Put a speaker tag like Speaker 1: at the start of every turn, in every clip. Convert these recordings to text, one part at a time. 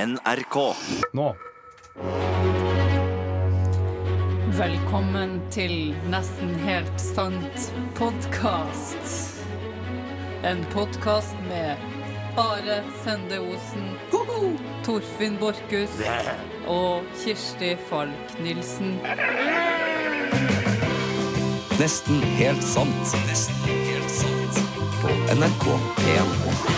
Speaker 1: NRK.
Speaker 2: Nå.
Speaker 3: Velkommen til Nesten helt sant podkast. En podkast med Are Sende Osen, Torfinn Borchhus og Kirsti Falk Nilsen.
Speaker 1: Nesten helt sant. Nesten helt sant. På NRK1.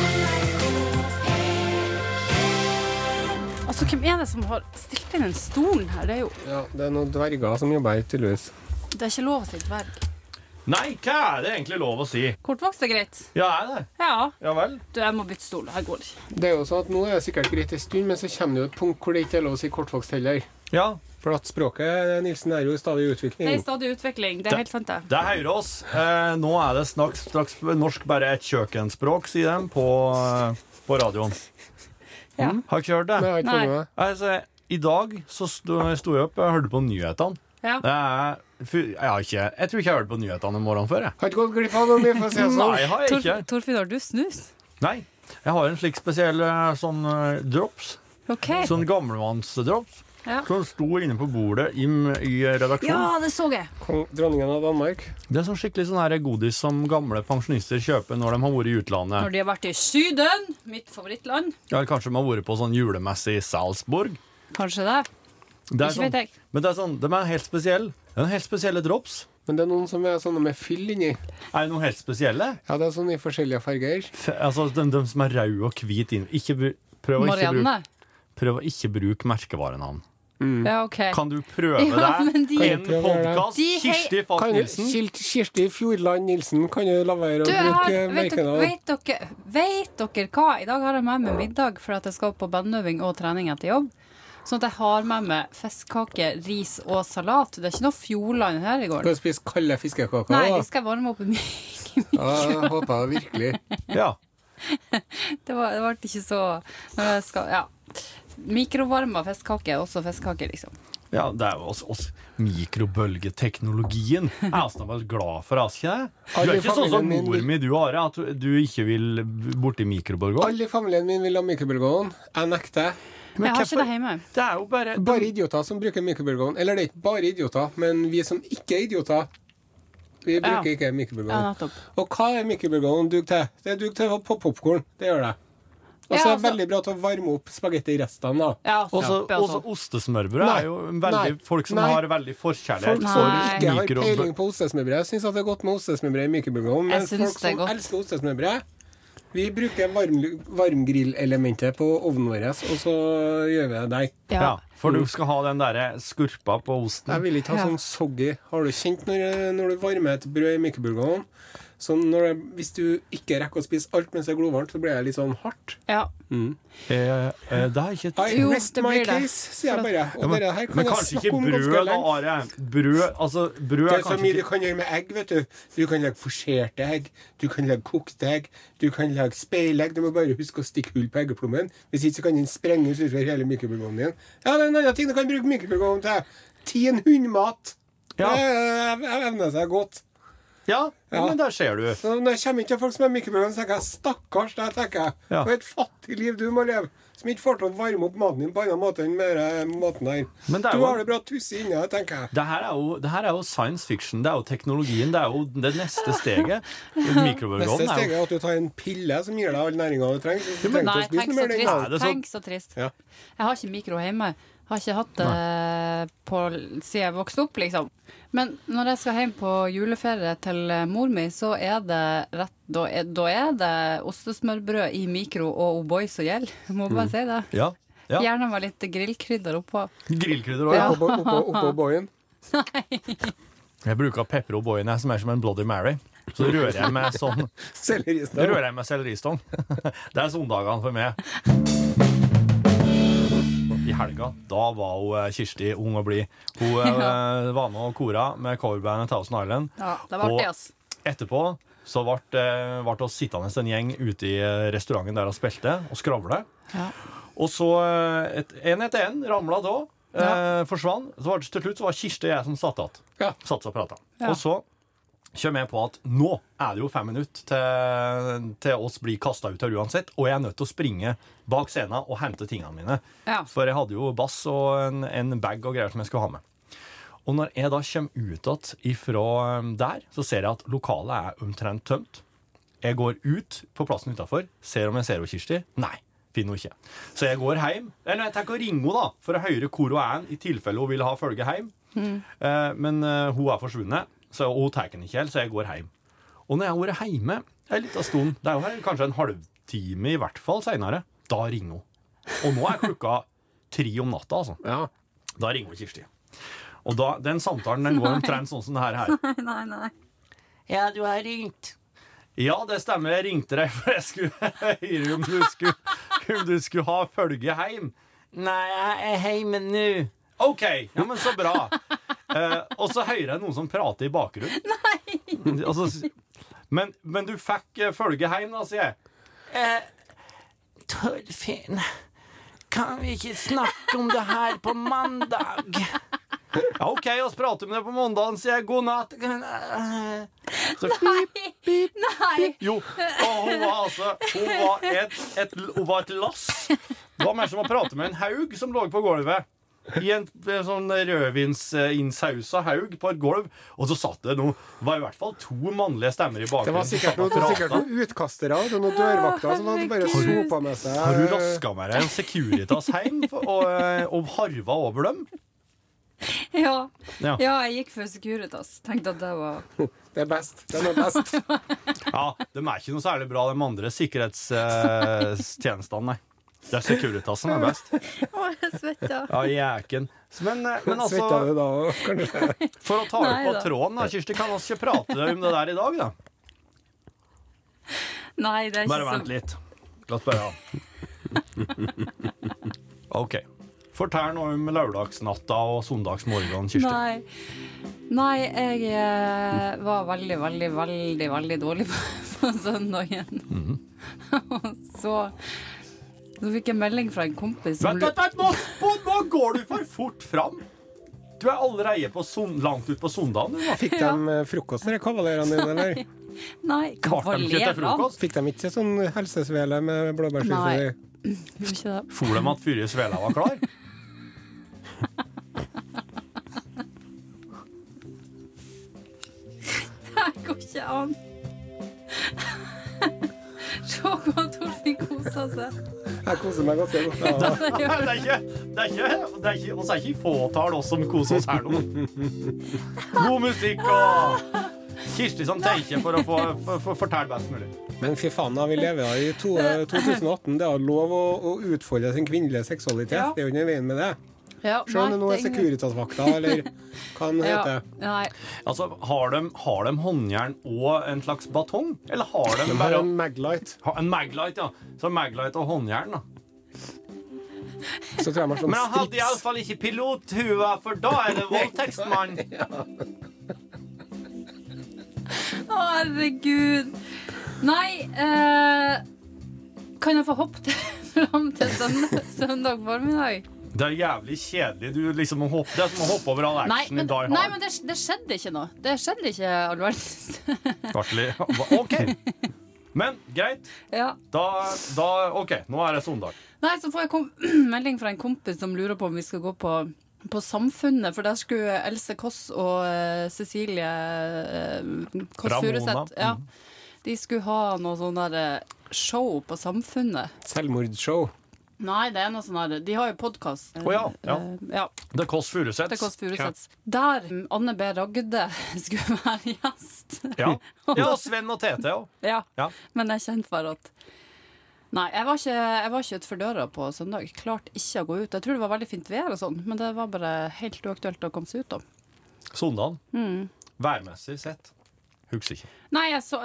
Speaker 3: Altså, Hvem er det som har stilt inn den stolen her? Det er jo
Speaker 4: Ja, det er noen dverger som jobber her, tydeligvis.
Speaker 3: det er ikke lov å si dverg.
Speaker 2: Nei, hva er det egentlig lov å si?
Speaker 3: Kortvokst er greit.
Speaker 2: Ja, er det?
Speaker 3: Ja.
Speaker 2: Ja vel?
Speaker 3: Du, jeg må bytte stol. Her går det ikke.
Speaker 4: Det er jo sånn at Nå er det sikkert greit en stund, men så kommer det jo et punkt hvor det ikke er lov å si kortvokst heller.
Speaker 2: Ja.
Speaker 4: For at språket Nilsen, er jo i
Speaker 3: Det
Speaker 4: stadig
Speaker 3: er i
Speaker 4: utvikling.
Speaker 3: stadig utvikling. Det er helt sant, det.
Speaker 2: Det er Høyrås. Eh, nå er det straks, straks norsk bare et kjøkkenspråk, sier de på, eh, på radioen.
Speaker 3: Ja.
Speaker 2: Mm, har ikke hørt
Speaker 4: Men
Speaker 2: det?
Speaker 4: jeg har ikke fått med meg.
Speaker 2: Altså, I dag så sto, sto jeg opp og hørte på nyhetene.
Speaker 3: Ja.
Speaker 2: Det er, fy- jeg, har ikke, jeg tror ikke jeg har hørt på nyhetene om morgenen før. Jeg.
Speaker 4: Har ikke gått glipp av noe mye, for å si det
Speaker 2: Nei,
Speaker 4: sånn.
Speaker 2: har jeg ikke.
Speaker 3: Torf- Torfinn, har du snus?
Speaker 2: Nei. Jeg har en slik spesiell eh, sånn eh, drops.
Speaker 3: OK.
Speaker 2: Sånn gamlemannsdrops.
Speaker 3: Ja.
Speaker 2: Som sto inne på bordet i, i redaksjonen.
Speaker 3: Ja, det så jeg.
Speaker 4: Kong, dronningen av Danmark.
Speaker 2: Det er sånn skikkelig sånn her godis som gamle pensjonister kjøper når de har vært i
Speaker 3: Når
Speaker 2: utlandet.
Speaker 3: de har vært i Syden, mitt favorittland.
Speaker 2: Ja, kanskje de har vært på sånn julemesse i Salzburg.
Speaker 3: Kanskje det.
Speaker 2: Det er
Speaker 3: Ikke vet
Speaker 2: sånn,
Speaker 3: jeg.
Speaker 2: men det er sånn, de er helt spesielle. Det er noen helt spesielle drops.
Speaker 4: Men det er noen som er sånne med fyll inni.
Speaker 2: Er det noen helt spesielle?
Speaker 4: Ja, det er sånn i forskjellige farger.
Speaker 2: F altså, de, de som er røde og hvite inn. Ikke, bru- prøv, å ikke bruke,
Speaker 3: Marianne.
Speaker 2: prøv å ikke bruke merkevarenavn.
Speaker 3: Ja, OK.
Speaker 2: Kan du prøve
Speaker 3: Ja,
Speaker 2: deg
Speaker 3: men de-
Speaker 2: i en
Speaker 4: Kan jeg prøve det?
Speaker 2: podkast?
Speaker 3: De hei-
Speaker 2: Kirsti Falk
Speaker 4: Kan du,
Speaker 2: Nilsen.
Speaker 4: Kil- Kirsti Fjordland Nilsen, kan du la være å
Speaker 3: Du, jeg har,
Speaker 4: bruke
Speaker 3: vet, dere,
Speaker 4: merkenavn?
Speaker 3: vet, dere, vet dere hva? I dag har jeg med meg middag fordi at jeg skal på bandøving og trening etter jobb. Sånn at jeg har med meg fiskekake, ris og salat. Det er ikke noe Fjordland her i går.
Speaker 4: Skal du spise kalde fiskekaker?
Speaker 3: Nei,
Speaker 4: da?
Speaker 3: de skal jeg varme opp i mye.
Speaker 4: Ja, jeg håper jeg virkelig.
Speaker 2: Ja.
Speaker 3: Det var- det ble ikke så når jeg skal, ja. Mikrovarma fiskekake er også fiskekake, liksom.
Speaker 2: ja, det er jo oss, oss. Mikrobølgeteknologien er altså bare glad for oss, ikke det? Du
Speaker 4: Alle
Speaker 2: er
Speaker 4: i
Speaker 2: ikke sånn som
Speaker 4: familien min
Speaker 2: mor
Speaker 4: lik-
Speaker 2: mi, du, Are, at du- du ikke vil borti mikrobølgeovn.
Speaker 4: Alle i familien min vil ha mikrobølgeovn. Jeg nekter.
Speaker 3: Jeg har ikke det hjemme.
Speaker 2: Det er jo bare
Speaker 4: Bare idioter som bruker mikrobølgeovn. Eller det er ikke bare idioter, men vi som ikke er idioter, vi bruker
Speaker 3: Ja.
Speaker 4: ikke
Speaker 3: Ja,
Speaker 4: mikrobølgeovn.
Speaker 3: nettopp.
Speaker 4: Og hva er mikrobølgeovn dug til? Det er dug til å poppe popkorn. Det gjør det. Og så
Speaker 3: Ja,
Speaker 4: er det
Speaker 3: altså-
Speaker 4: veldig bra til å varme opp spagettirestene, da.
Speaker 3: Ja, suppe og
Speaker 2: Også, også
Speaker 3: sånn.
Speaker 2: ostesmørbrød
Speaker 4: Nei.
Speaker 2: er jo veldig
Speaker 4: Nei.
Speaker 2: folk som
Speaker 4: Nei.
Speaker 2: har veldig
Speaker 4: Folk
Speaker 2: forkjærlighet
Speaker 4: som
Speaker 3: Nei.
Speaker 4: ikke har
Speaker 2: mikro-
Speaker 4: peiling på ostesmørbrød, syns at det er godt med ostesmørbrød i
Speaker 3: Jeg
Speaker 4: mikrobølgeovn. Men
Speaker 3: syns
Speaker 4: folk
Speaker 3: det er
Speaker 4: som
Speaker 3: godt.
Speaker 4: elsker ostesmørbrød, vi bruker varm, varmgrillelementet på ovnen vår, og så gjør vi det der.
Speaker 2: Ja,
Speaker 3: Ja.
Speaker 2: for du skal ha den derre skurpa på
Speaker 4: Jeg
Speaker 2: osten.
Speaker 4: vil ikke ha
Speaker 3: Ja.
Speaker 4: sånn soggy. Har du kjent når, når du varmer et brød i mikrobølgeovnen? Sånn når det, hvis du ikke rekker å spise alt mens det er glovarmt, så blir det litt sånn hardt.
Speaker 3: ja.
Speaker 2: Eh, eh, det er ikke
Speaker 4: I
Speaker 3: Jo,
Speaker 4: rest
Speaker 3: det
Speaker 4: my
Speaker 3: blir det.
Speaker 4: case, sier jeg bare. Og
Speaker 2: Ja, men,
Speaker 4: dere her kan
Speaker 2: men
Speaker 4: jeg
Speaker 2: kanskje ikke
Speaker 4: snakke om
Speaker 2: brød,
Speaker 4: ganske
Speaker 2: da,
Speaker 4: lenge.
Speaker 2: Are. Brød, altså, brød
Speaker 4: Det
Speaker 2: er
Speaker 4: er så
Speaker 2: kanskje
Speaker 4: mye du
Speaker 2: ikke
Speaker 4: kan gjøre med egg, vet du. Du kan legge forserte egg, du kan legge kokte egg, du kan legge speilegg. Du må bare huske å stikke hull på eggeplommen. Hvis ikke så kan den sprenges utover hele mikrobølgeovnen din. Ja, det er en annen ting du kan bruke mikrobølgeovnen til. Tien hundmat.
Speaker 2: Ja.
Speaker 4: Det eh, evner seg godt.
Speaker 2: ja, ja,
Speaker 4: Ja.
Speaker 2: men der ser du.
Speaker 4: Så når jeg kommer inn til folk som er mikrobølgeovn, så tenker jeg stakkars deg, tenker jeg.
Speaker 2: Ja.
Speaker 4: For et fattig liv du må leve. Som ikke får til å varme opp maten din på annen måte enn med den maten her.
Speaker 2: Men det er
Speaker 4: Du
Speaker 2: jo-
Speaker 4: har det bra tusse inni deg, tenker jeg.
Speaker 2: Det her, er jo, det her er jo science fiction. Det er jo teknologien. Det er jo det neste steget.
Speaker 4: Neste
Speaker 2: Mikrobølgeovnen er
Speaker 4: steg
Speaker 2: jo
Speaker 4: er at du tar en pille som gir deg all næringa du trenger. Så du trenger
Speaker 3: Nei,
Speaker 4: ikke å spise
Speaker 3: tenk så
Speaker 4: noe mer den gangen.
Speaker 2: Er det
Speaker 3: trist.
Speaker 2: sånn?
Speaker 3: Tenk så trist.
Speaker 4: Ja.
Speaker 3: Jeg har ikke mikro hjemme. Jeg har ikke hatt det på, siden jeg vokste opp, liksom. Men når jeg skal hjem på juleferie til eh, mor mi, så er det rett Da er, da er det ostesmørbrød i mikro og O'boy som gjelder. Jeg Må bare si det.
Speaker 2: ja, Mm. ja.
Speaker 3: Gjerne med litt grillkrydder oppå.
Speaker 2: Grillkrydder òg, ja.
Speaker 4: Oppå, oppå, oppå boyen.
Speaker 2: Jeg bruker pepper og boyen, jeg, som er som en Bloody Mary. Så rører jeg med sånn
Speaker 4: Selleristang.
Speaker 2: Rører jeg med selleristang. Det er søndagene for meg. I helga da var hun, eh, Kirsti ung og blid. Hun eh, var med og kora med coverbandet Thousand Island.
Speaker 3: Ja, det var
Speaker 2: Og-
Speaker 3: artig, ass.
Speaker 2: Etterpå så ble eh, ble oss sittende en gjeng ute i eh, restauranten der vi spilte, og skravle.
Speaker 3: Ja.
Speaker 2: Og så eh, et, en etter en ramla da. Eh, forsvant. Så var det, til slutt så var Kirsti og jeg som satt igjen.
Speaker 4: Ja.
Speaker 2: Satt og prata.
Speaker 3: Ja.
Speaker 2: Og så Kjør med på at nå er det jo fem minutter til, til oss blir kasta ut her uansett, og jeg er nødt til å springe bak scenen og hente tingene mine.
Speaker 3: Ja.
Speaker 2: For jeg hadde jo bass og en, en bag og greier som jeg skulle ha med. Og når jeg da kommer ut igjen ifra um, der, så ser jeg at lokalet er omtrent tømt. Jeg går ut på plassen utafor, ser om jeg ser henne Kirsti. Nei. Finner hun ikke. Så jeg går hjem. Eller jeg tenker å ringe henne, da, for å høre hvor hun er, i tilfelle hun vil ha følge hjem. Eh, men eh, hun er forsvunnet, så hun tar henne ikke helt, så jeg går hjem. Og når jeg har vært hjemme en liten stund, det er jo her, kanskje en halvtime i hvert fall seinere, da ringer hun. Og nå er klokka tre om natta, altså.
Speaker 4: Ja.
Speaker 2: Da ringer hun Kirsti. Og da, den samtalen den går omtrent sånn som det her. her.
Speaker 3: Nei, nei.
Speaker 5: Ja, du har ringt.
Speaker 2: Ja, det stemmer, jeg ringte deg, for jeg skulle høre om du skulle, om du skulle ha følge hjem.
Speaker 5: Nei, jeg er hjemme nå.
Speaker 2: OK, ja, men så bra. Eh, og så hører jeg noen som prater i bakgrunnen. Nei. Og så, s- men, men du fikk eh, følge hjem, da, sier jeg.
Speaker 5: Eh, Torfinn, kan vi ikke snakke om det her på mandag?
Speaker 2: Ja, OK, oss prater om det på mandagen, sier jeg. God natt. Så,
Speaker 3: Nei!
Speaker 2: Jo, og hun var altså Hun var et, et, hun var et lass. Det var mer som å prate med en haug som lå på gulvet. I en eh, sånn rødvinsinnsausa haug på et gulv. Og så satt det noe Det var i hvert fall to mannlige stemmer i
Speaker 4: Det
Speaker 2: bakgrunnen.
Speaker 4: var sikkert noen, det var sikkert noen utkastere og noen dørvakter som hadde bare
Speaker 3: Herregud.
Speaker 4: sopa med seg
Speaker 2: Har du raska med deg en Securitas hjem for- og, eh, og harva over dem?
Speaker 3: Ja.
Speaker 2: Ja.
Speaker 3: ja, jeg gikk for Securitas. Tenkte at det var
Speaker 4: Det er best. Den er best.
Speaker 3: Altså-
Speaker 2: Ja, De er ikke noe særlig bra, de andre sikkerhetstjenestene, nei. Det er Securitas som er best.
Speaker 3: Å, jeg svetter.
Speaker 2: Ja, jæken. Men, eh, men altså
Speaker 4: Svetta du da òg, kanskje?
Speaker 2: For å ta
Speaker 3: Nei
Speaker 2: ut på
Speaker 3: da.
Speaker 2: tråden, da, Kirsti, kan oss ikke prate om det der i dag, da?
Speaker 3: Nei, det er
Speaker 2: Bare
Speaker 3: ikke så
Speaker 2: vent litt. La oss bare ha. OK. Fortell noe om lørdagsnatta og søndagsmorgenen, Kirsti.
Speaker 3: Nei. Nei, jeg eh, var veldig, veldig, veldig veldig dårlig på, på søndagen.
Speaker 2: Mhm.
Speaker 3: Og så Så fikk jeg melding fra en kompis som
Speaker 2: Vent, vent, vent! Nå, nå- nå går du for fort fram! Du er allerede på son- langt ut på søndagen, du. nå.
Speaker 4: Fikk de eh, frokost, de kavalerene dine, eller?
Speaker 3: Nei,
Speaker 2: Klart de ikke til
Speaker 3: kavalerene.
Speaker 2: frokost.
Speaker 4: Fikk de ikke sånn helsesvele med
Speaker 3: Nei.
Speaker 4: blåbærsyltetøy?
Speaker 3: Gjorde ikke det.
Speaker 2: For dem at Fyri Svela var klar?
Speaker 3: Det går ikke an. Se hva Torfinn koser seg.
Speaker 4: Jeg koser meg ganske godt. Ja.
Speaker 3: Det
Speaker 2: Nei,
Speaker 3: gjør
Speaker 2: det er ikke Det er ikke, det er ikke, oss er ikke i fåtall, oss som koser oss her nå. God musikk og Kirsti som tenker for å få for, for, fortelle best mulig.
Speaker 4: Men fy faen, da, vi lever da i to, 2018. Det er lov å, å utfolde sin kvinnelige seksualitet.
Speaker 3: Ja.
Speaker 4: Det er jo under veien med det.
Speaker 3: Ja,
Speaker 4: Se om det nå
Speaker 3: nei, det er
Speaker 4: er
Speaker 3: ingen-
Speaker 4: Securitas-vakta, eller hva den
Speaker 3: Ja,
Speaker 4: heter.
Speaker 3: nei.
Speaker 2: Altså, har de, har de håndjern og en slags batong? Eller har de
Speaker 4: De har
Speaker 2: bare
Speaker 4: en Maglite.
Speaker 2: ha, en Maglite, ja. Så Maglite og håndjern, da.
Speaker 4: Så tror jeg man har
Speaker 2: Men han
Speaker 4: sånn
Speaker 2: hadde
Speaker 4: strips.
Speaker 2: iallfall ikke pilothue, for da er det voldtektsmann.
Speaker 3: Å, herregud. Nei eh, Kan jeg få hoppe til, fram til søndag, søndag formiddag?
Speaker 2: Det er jævlig kjedelig. Du liksom må hoppe, det er som å hoppe over all
Speaker 3: Nei,
Speaker 2: action
Speaker 3: men,
Speaker 2: i Die Hard.
Speaker 3: nei, men det, det skjedde ikke noe. Det skjedde ikke all verdens.
Speaker 2: Artig. OK. Men greit.
Speaker 3: Ja.
Speaker 2: Da, da OK, nå er det søndag.
Speaker 3: Nei, så får jeg kom melding fra en kompis som lurer på om vi skal gå på på Samfunnet, for der skulle Else Kåss og eh, Cecilie eh, Kåss
Speaker 2: Ramona. Mm.
Speaker 3: Furuseth ja, De skulle ha noe sånn der eh, show på Samfunnet.
Speaker 4: Selvmordsshow.
Speaker 3: Nei, det er noe sånn der De har jo podkast.
Speaker 2: Å ja, ja.
Speaker 3: Eh, ja.
Speaker 2: The Kåss Furuseth.
Speaker 3: Det er Kåss Furuseths. Der mm, Anne B. Ragde skulle være gjest.
Speaker 2: Ja. ja, og Sven og Tete òg.
Speaker 3: Ja.
Speaker 2: Ja.
Speaker 3: Men jeg kjente bare at Nei, jeg var ikke, jeg var ikke utenfor døra på søndag. Klarte ikke å gå ut. Jeg tror det var veldig fint vær og sånn, men det var bare helt uaktuelt å komme seg ut, da.
Speaker 2: Sondagen.
Speaker 3: Mm.
Speaker 2: Værmessig sett. Husker ikke.
Speaker 3: Nei, jeg så,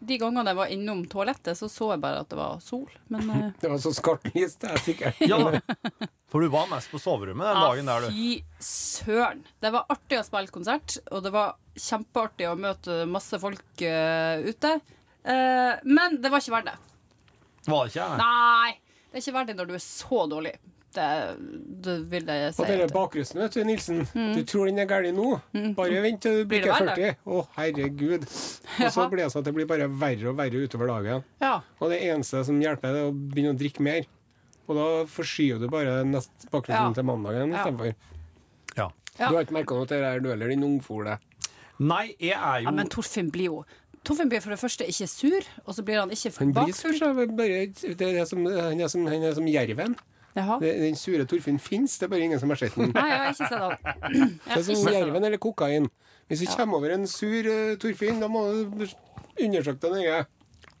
Speaker 3: de gangene jeg var innom toalettet, så så jeg bare at det var sol. Men eh,
Speaker 4: Det var så skartlist, det er sikkert.
Speaker 2: Ja, for du var mest på soverommet den dagen der, du.
Speaker 3: fy søren! Det var artig å spille konsert, og det var kjempeartig å møte masse folk eh, ute. Eh, men det var ikke verdt det.
Speaker 2: Var det ikke jeg?
Speaker 3: Nei, det er ikke verdt det når du er så dårlig det, det vil jeg si.
Speaker 4: Og denne
Speaker 3: at-
Speaker 4: bakrusen, vet du, Nilsen. Du tror den er gæren nå. Bare vent til du
Speaker 3: Mm. Blir det
Speaker 4: bikker
Speaker 3: verre?
Speaker 4: 40. Å, herregud. Og
Speaker 3: Ja.
Speaker 4: så blir det sånn at det blir bare verre og verre utover dagen.
Speaker 3: Ja.
Speaker 4: Og det eneste som hjelper, det er å begynne å drikke mer. Og da forskyver du bare nest bakgrunnen
Speaker 3: Ja.
Speaker 4: til mandagen
Speaker 3: Ja.
Speaker 4: istedenfor.
Speaker 2: Ja.
Speaker 3: Ja.
Speaker 4: Du har ikke merka noe til det her, du heller, din ungfole.
Speaker 2: Nei, jeg er jo
Speaker 3: ja, men Torfinn blir jo Torfinn blir for det første ikke sur, og så blir han ikke
Speaker 4: Han blir
Speaker 3: bakfull.
Speaker 4: sur, så er det bare, det er som, han, er som, han er som jerven.
Speaker 3: Jaha.
Speaker 4: Det, den sure Torfinn fins, det er bare ingen som har sett den.
Speaker 3: Nei, jeg har ikke sett han.
Speaker 4: Det er sånn som jerven eller kokain. Hvis du kommer over en sur eh, Torfinn, da må du undersøke deg nøye.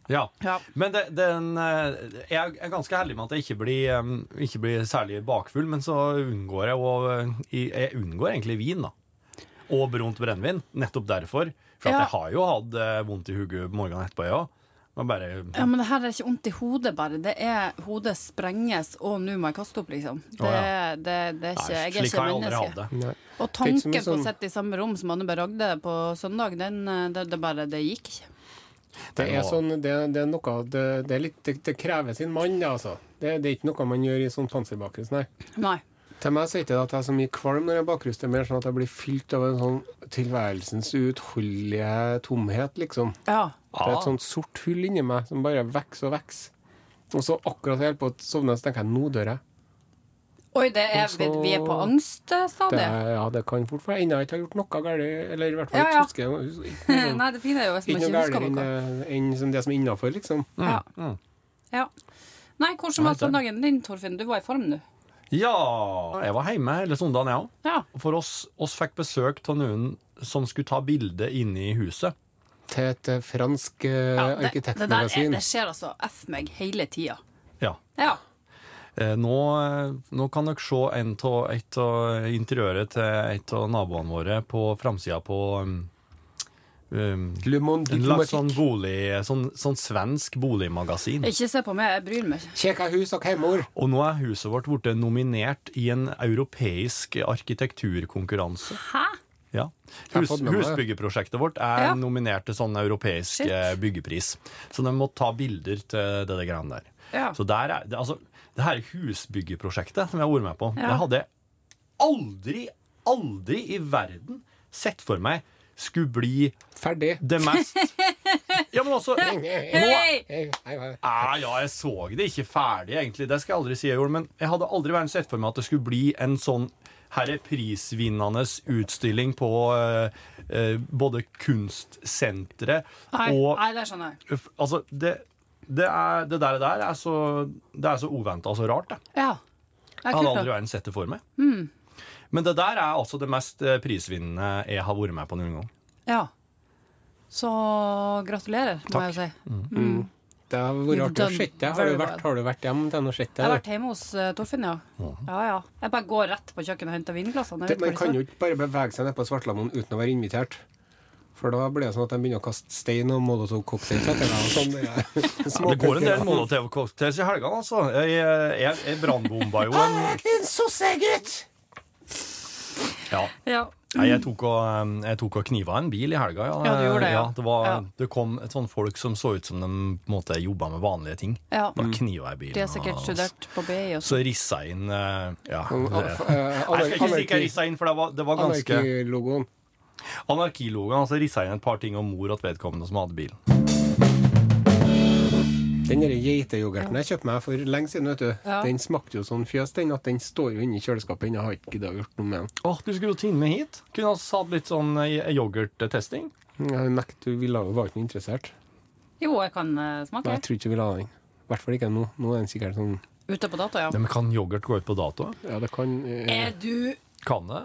Speaker 2: Ja.
Speaker 3: Ja.
Speaker 2: Men det, den, eh, jeg er ganske heldig med at jeg ikke blir, em, ikke blir særlig bakfull, men så unngår jeg å i- Jeg unngår egentlig vin, da. Og brunt brennevin. Nettopp derfor. For at
Speaker 3: Ja.
Speaker 2: jeg har jo hatt eh, vondt i hodet morgenen etterpå, jeg òg. Men bare
Speaker 3: Ja, men det her er ikke vondt i hodet, bare. Det er hodet sprenges, og nå må jeg kaste opp, liksom. Det,
Speaker 2: Å,
Speaker 3: det, det er ikke,
Speaker 2: Nei,
Speaker 3: jeg er
Speaker 2: slik
Speaker 3: ikke
Speaker 2: har jeg aldri hatt
Speaker 3: menneske.
Speaker 2: det.
Speaker 3: Og
Speaker 4: er ikke så mye
Speaker 3: tanken på å
Speaker 4: sånn-
Speaker 3: sitte i samme rom som Anne B. Ragde på søndag, den, eh, det, det bare Det gikk ikke.
Speaker 4: Det er,
Speaker 2: må-
Speaker 4: sånn, det, det er noe det, det, er litt, det, det krever sin mann, det, altså. Det, det er ikke noe man gjør i sånn panserbakrus, nei.
Speaker 3: Nei.
Speaker 4: Til meg sier ikke det at jeg er så mye kvalm når jeg bakrus, det er mer sånn at jeg blir fylt av en sånn tilværelsens uutholdelige tomhet, liksom.
Speaker 3: Ja.
Speaker 4: Det
Speaker 3: Ah.
Speaker 4: er et sånt sort hull inni meg som bare vokser og vokser. Og så akkurat jeg holder på å sovne, så tenker jeg nå dør jeg.
Speaker 3: Oi, det er,
Speaker 4: Og
Speaker 3: vi,
Speaker 4: så-
Speaker 3: vi er på angststadiet.
Speaker 4: Det, ja, det kan fort være. Ennå ikke har gjort noe galt, eller i hvert fall
Speaker 3: Ja, ja.
Speaker 4: ikke husker jeg- ikke noe
Speaker 3: Nei, det fine er jo hvis man
Speaker 4: Ikke
Speaker 3: ikke
Speaker 4: noe
Speaker 3: husker
Speaker 4: galt
Speaker 3: noe.
Speaker 4: enn enn som det som er innafor, liksom.
Speaker 3: Ja. ja. Nei, hvordan var søndagen din, Torfinn? Du var i form nå.
Speaker 2: Ja, jeg var hjemme hele søndagen, jeg òg.
Speaker 3: Ja.
Speaker 2: For oss, oss fikk besøk av noen som skulle ta bilde inne i huset.
Speaker 4: Til et eh, fransk eh,
Speaker 3: det, det, der er,
Speaker 4: arkitektmagasin.
Speaker 3: det skjer altså F meg hele tida.
Speaker 2: Ja.
Speaker 3: Ja.
Speaker 2: Eh, Nå, eh, nå kan dere se en av, et av interiøret til et av naboene våre på framsida på um, um,
Speaker 4: Le Monde
Speaker 2: En slags sånn,
Speaker 4: Diplomatique.
Speaker 2: bolig, sånn, sånn svensk boligmagasin.
Speaker 3: Ikke se på meg, jeg bryr meg ikke.
Speaker 4: Kjekka hus og hjemmeord.
Speaker 2: Og nå er huset vårt blitt nominert i en europeisk arkitekturkonkurranse.
Speaker 3: Hæ?
Speaker 2: Ja.
Speaker 4: Jeg har
Speaker 2: Hus,
Speaker 4: fått med meg det.
Speaker 2: husbyggeprosjektet vårt er
Speaker 3: Ja.
Speaker 2: nominert til sånn europeisk
Speaker 3: Shit.
Speaker 2: eh, byggepris. Så de må ta bilder til det der greiene der.
Speaker 3: Ja.
Speaker 2: Så der er, det, altså, det her husbyggeprosjektet som jeg har vært med på,
Speaker 3: Ja.
Speaker 2: det hadde jeg aldri, aldri i verden sett for meg skulle bli
Speaker 4: Ferdig.
Speaker 2: det mest Ja, men altså
Speaker 3: Hei!
Speaker 4: Hei, hei, hei.
Speaker 2: Ah, ja, jeg så det ikke ferdig, egentlig. Det skal jeg aldri si jeg gjorde. Men jeg hadde aldri vært sett for meg at det skulle bli en sånn herre prisvinnende utstilling på eh, eh, både kunstsenteret
Speaker 3: Nei,
Speaker 2: og
Speaker 3: nei, det skjønner jeg.
Speaker 2: Uff, Altså, det, det, er, det der, der er så, det er så uventa og så rart, det.
Speaker 3: Ja. Jeg
Speaker 2: Jeg hadde
Speaker 3: kunne
Speaker 2: aldri vært sett det for meg. Men det der er altså det mest eh, prisvinnende jeg har vært med på noen gang.
Speaker 3: Ja. Så gratulerer, må jeg jo si.
Speaker 4: Det har vært artig å se deg. Har,
Speaker 3: Very
Speaker 4: du vært-
Speaker 3: well.
Speaker 4: har du vært hjemme til å se
Speaker 3: Jeg har
Speaker 4: deg?
Speaker 3: vært hjemme hos eh, Torfinn, ja. Ja, ja. Jeg bare går rett på kjøkkenet og henter vinglassene. Jeg vet
Speaker 4: Man
Speaker 3: hvor de
Speaker 4: kan
Speaker 3: står.
Speaker 4: jo ikke bare bevege seg ned på Svartlamoen uten å være invitert. For da blir det sånn at de begynner å kaste stein og molotov-cocktails etter deg. og Sånn, det
Speaker 2: Det går en del Molotov-cocktails i helgene, altså. Jeg, jeg, jeg brannbomba jo en
Speaker 5: Din sossegutt!
Speaker 2: ja.
Speaker 3: Ja.
Speaker 2: Nei, jeg tok, og, um, jeg tok og kniva en bil i helga. Ja,
Speaker 3: Ja, du gjorde det, ja.
Speaker 2: det, var,
Speaker 3: Ja.
Speaker 2: det kom et sånt folk som så ut som de på en måte jobba med vanlige ting.
Speaker 3: ja.
Speaker 2: Da kniva jeg bilen.
Speaker 3: De har sikkert
Speaker 2: og-
Speaker 3: studert på BI og
Speaker 2: Så rissa jeg inn eh, Ja. det- Nei, jeg skal ikke si hva jeg
Speaker 4: Anarki-logoen.
Speaker 2: rissa inn, for det var, det var ganske Anarkilogoen. Altså rissa jeg inn et par ting om mor og vedkommende som hadde bilen.
Speaker 4: Den der geiteyoghurten jeg kjøpte meg for lenge siden, vet du,
Speaker 3: Ja.
Speaker 4: den smakte jo sånn fjøs, den, at den står jo inni kjøleskapet ennå. Jeg Har ikke giddet å gjort noe med den.
Speaker 2: Åh, Du skulle jo tatt med hit. Kunne altså hatt litt sånn eh, yoghurttesting.
Speaker 4: Jeg nekter, du ville jo var ikke interessert.
Speaker 3: Jo, jeg kan eh,
Speaker 4: Nei,
Speaker 3: smake.
Speaker 4: jeg tror ikke du ville ha den. I hvert fall ikke nå. Nå er den sikkert sånn
Speaker 3: Ute på data, ja.
Speaker 2: Men kan yoghurt gå ut på dato?
Speaker 4: Ja, det kan eh,
Speaker 3: Er du
Speaker 2: Kan det?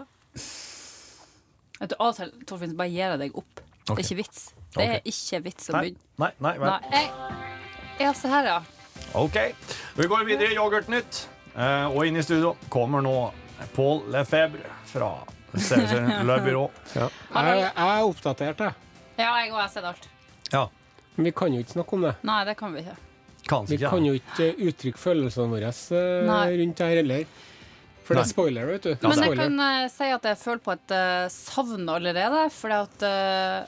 Speaker 3: Vet du, av og til, Torfinn, så bare gir jeg deg opp. Det
Speaker 2: Ok.
Speaker 3: er ikke vits. Det er ikke vits å
Speaker 2: Nei,
Speaker 3: begynne.
Speaker 2: nei. nei, vel.
Speaker 3: Nei. Jeg, ja, se her, ja.
Speaker 2: Ok, vi går videre i Yoghurtnytt. Eh, og inn i studio kommer nå Paul Lefebvre fra Sergent Le Bureau.
Speaker 4: ja. jeg, jeg er oppdatert, jeg.
Speaker 3: Ja, jeg òg har sett alt.
Speaker 2: Ja,
Speaker 4: Men vi kan jo ikke snakke om det.
Speaker 3: Nei, det kan vi ikke.
Speaker 2: kanskje
Speaker 4: Vi
Speaker 2: ikke.
Speaker 4: kan jo ikke eh, uttrykke følelsene våre eh,
Speaker 3: Nei.
Speaker 4: rundt det her heller. For det er spoiler, vet du. Det er
Speaker 3: Men jeg
Speaker 4: spoiler.
Speaker 3: kan eh, si at jeg føler på et eh, savn allerede, fordi at eh,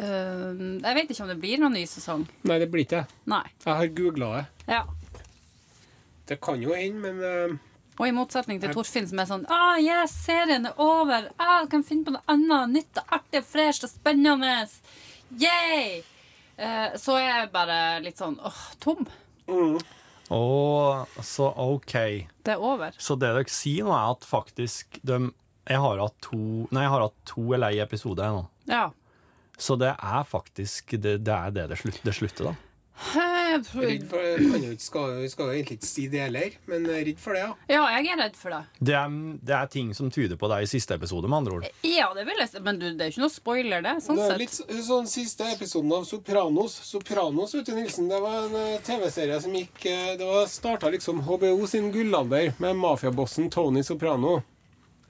Speaker 3: eh, Jeg vet ikke om det blir noen ny sesong.
Speaker 4: Nei, det blir ikke det.
Speaker 3: Nei.
Speaker 4: Jeg har googla det.
Speaker 3: Ja.
Speaker 4: Det kan jo hende, men eh,
Speaker 3: Og i motsetning til Torfinn, som er sånn ah, yes, serien er over! Ah, kan finne på noe annet nytt og artig og fresht og spennende! Yay! Eh, så er jeg bare litt sånn åh, tom.
Speaker 2: Og så OK.
Speaker 3: Det er over.
Speaker 2: Så det dere sier nå, er at faktisk de Jeg har hatt to Nei, jeg har hatt to eller ei episode her nå.
Speaker 3: Ja.
Speaker 2: Så det er faktisk Det, det er det det, slutt, det slutter, da.
Speaker 3: Eh,
Speaker 4: Redd for det. Kan jo ikke- Skal, skal jo egentlig ikke si det heller, men jeg er redd for det, ja.
Speaker 3: Ja, jeg er redd for det.
Speaker 2: Det er, det er ting som tyder på det i siste episode, med andre ord.
Speaker 4: Eh.
Speaker 3: Ja, det vil jeg si. Men du, det er ikke noe spoiler, det. Sånn
Speaker 4: Det er
Speaker 3: sett.
Speaker 4: litt s- sånn siste episoden av Sopranos. Sopranos, vet du, Nilsen, det var en eh, TV-serie som gikk eh, Det var starta liksom HBO sin gullalder med mafiabossen Tony Soprano,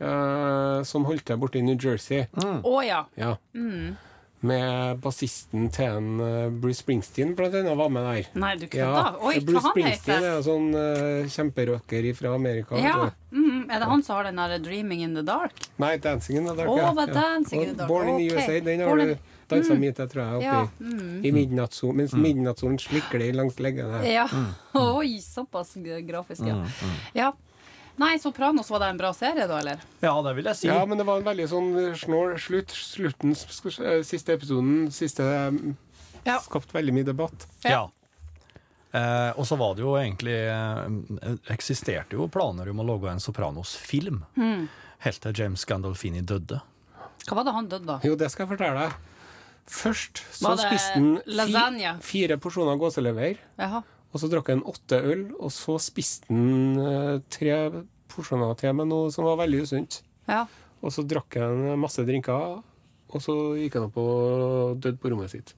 Speaker 4: eh, som holdt til borte i New Jersey.
Speaker 3: Å ja.
Speaker 4: Ja.
Speaker 3: Mm.
Speaker 4: Med bassisten til en eh, Bruce Springsteen, blant annet, var med der.
Speaker 3: Nei, du kødder? Oi, hva
Speaker 4: Bruce
Speaker 3: han
Speaker 4: Springsteen
Speaker 3: heter?
Speaker 4: er en sånn eh, kjemperocker fra Amerika. vet
Speaker 3: Ja.
Speaker 4: du.
Speaker 3: Mm, er det han som har den der 'Dreaming in the Dark'?
Speaker 4: Nei, 'Dancing in the Dark'.
Speaker 3: Å, var Dancing in the Dark,
Speaker 4: Born in
Speaker 3: ok.
Speaker 4: the USA. Den har
Speaker 3: Born
Speaker 4: du
Speaker 3: in- Mm.
Speaker 4: dansa mye til, tror jeg, oppi
Speaker 3: Ja, mm.
Speaker 4: i midnattssolen, mens midnattssolen slikker deg langs leggene.
Speaker 3: Ja. Mm. Oi, såpass grafisk, ja. ja. Nei, 'Sopranos' var det en bra serie, da, eller?
Speaker 2: Ja, det vil jeg si.
Speaker 4: Ja, men det var en veldig sånn snål slutt. Slutten, sk- eh, siste episoden, siste
Speaker 3: Ja.
Speaker 4: Skapte veldig mye debatt.
Speaker 2: Ja. Eh, og så var det jo egentlig eh, Eksisterte jo planer om å lage en Sopranos-film.
Speaker 3: Hmm.
Speaker 2: Helt til James Gandolfini døde.
Speaker 3: Hva var det han døde av?
Speaker 4: Jo, det skal jeg fortelle deg. Først så
Speaker 3: Var det
Speaker 4: spiste han fi,
Speaker 3: lasagne?
Speaker 4: fire porsjoner gåselever,
Speaker 3: Jaha.
Speaker 4: og så drakk han åtte øl, og så spiste han eh, tre porsjoner til med noe som var veldig usunt.
Speaker 3: Ja.
Speaker 4: Og så drakk han masse drinker, og så gikk han opp og døde på rommet sitt.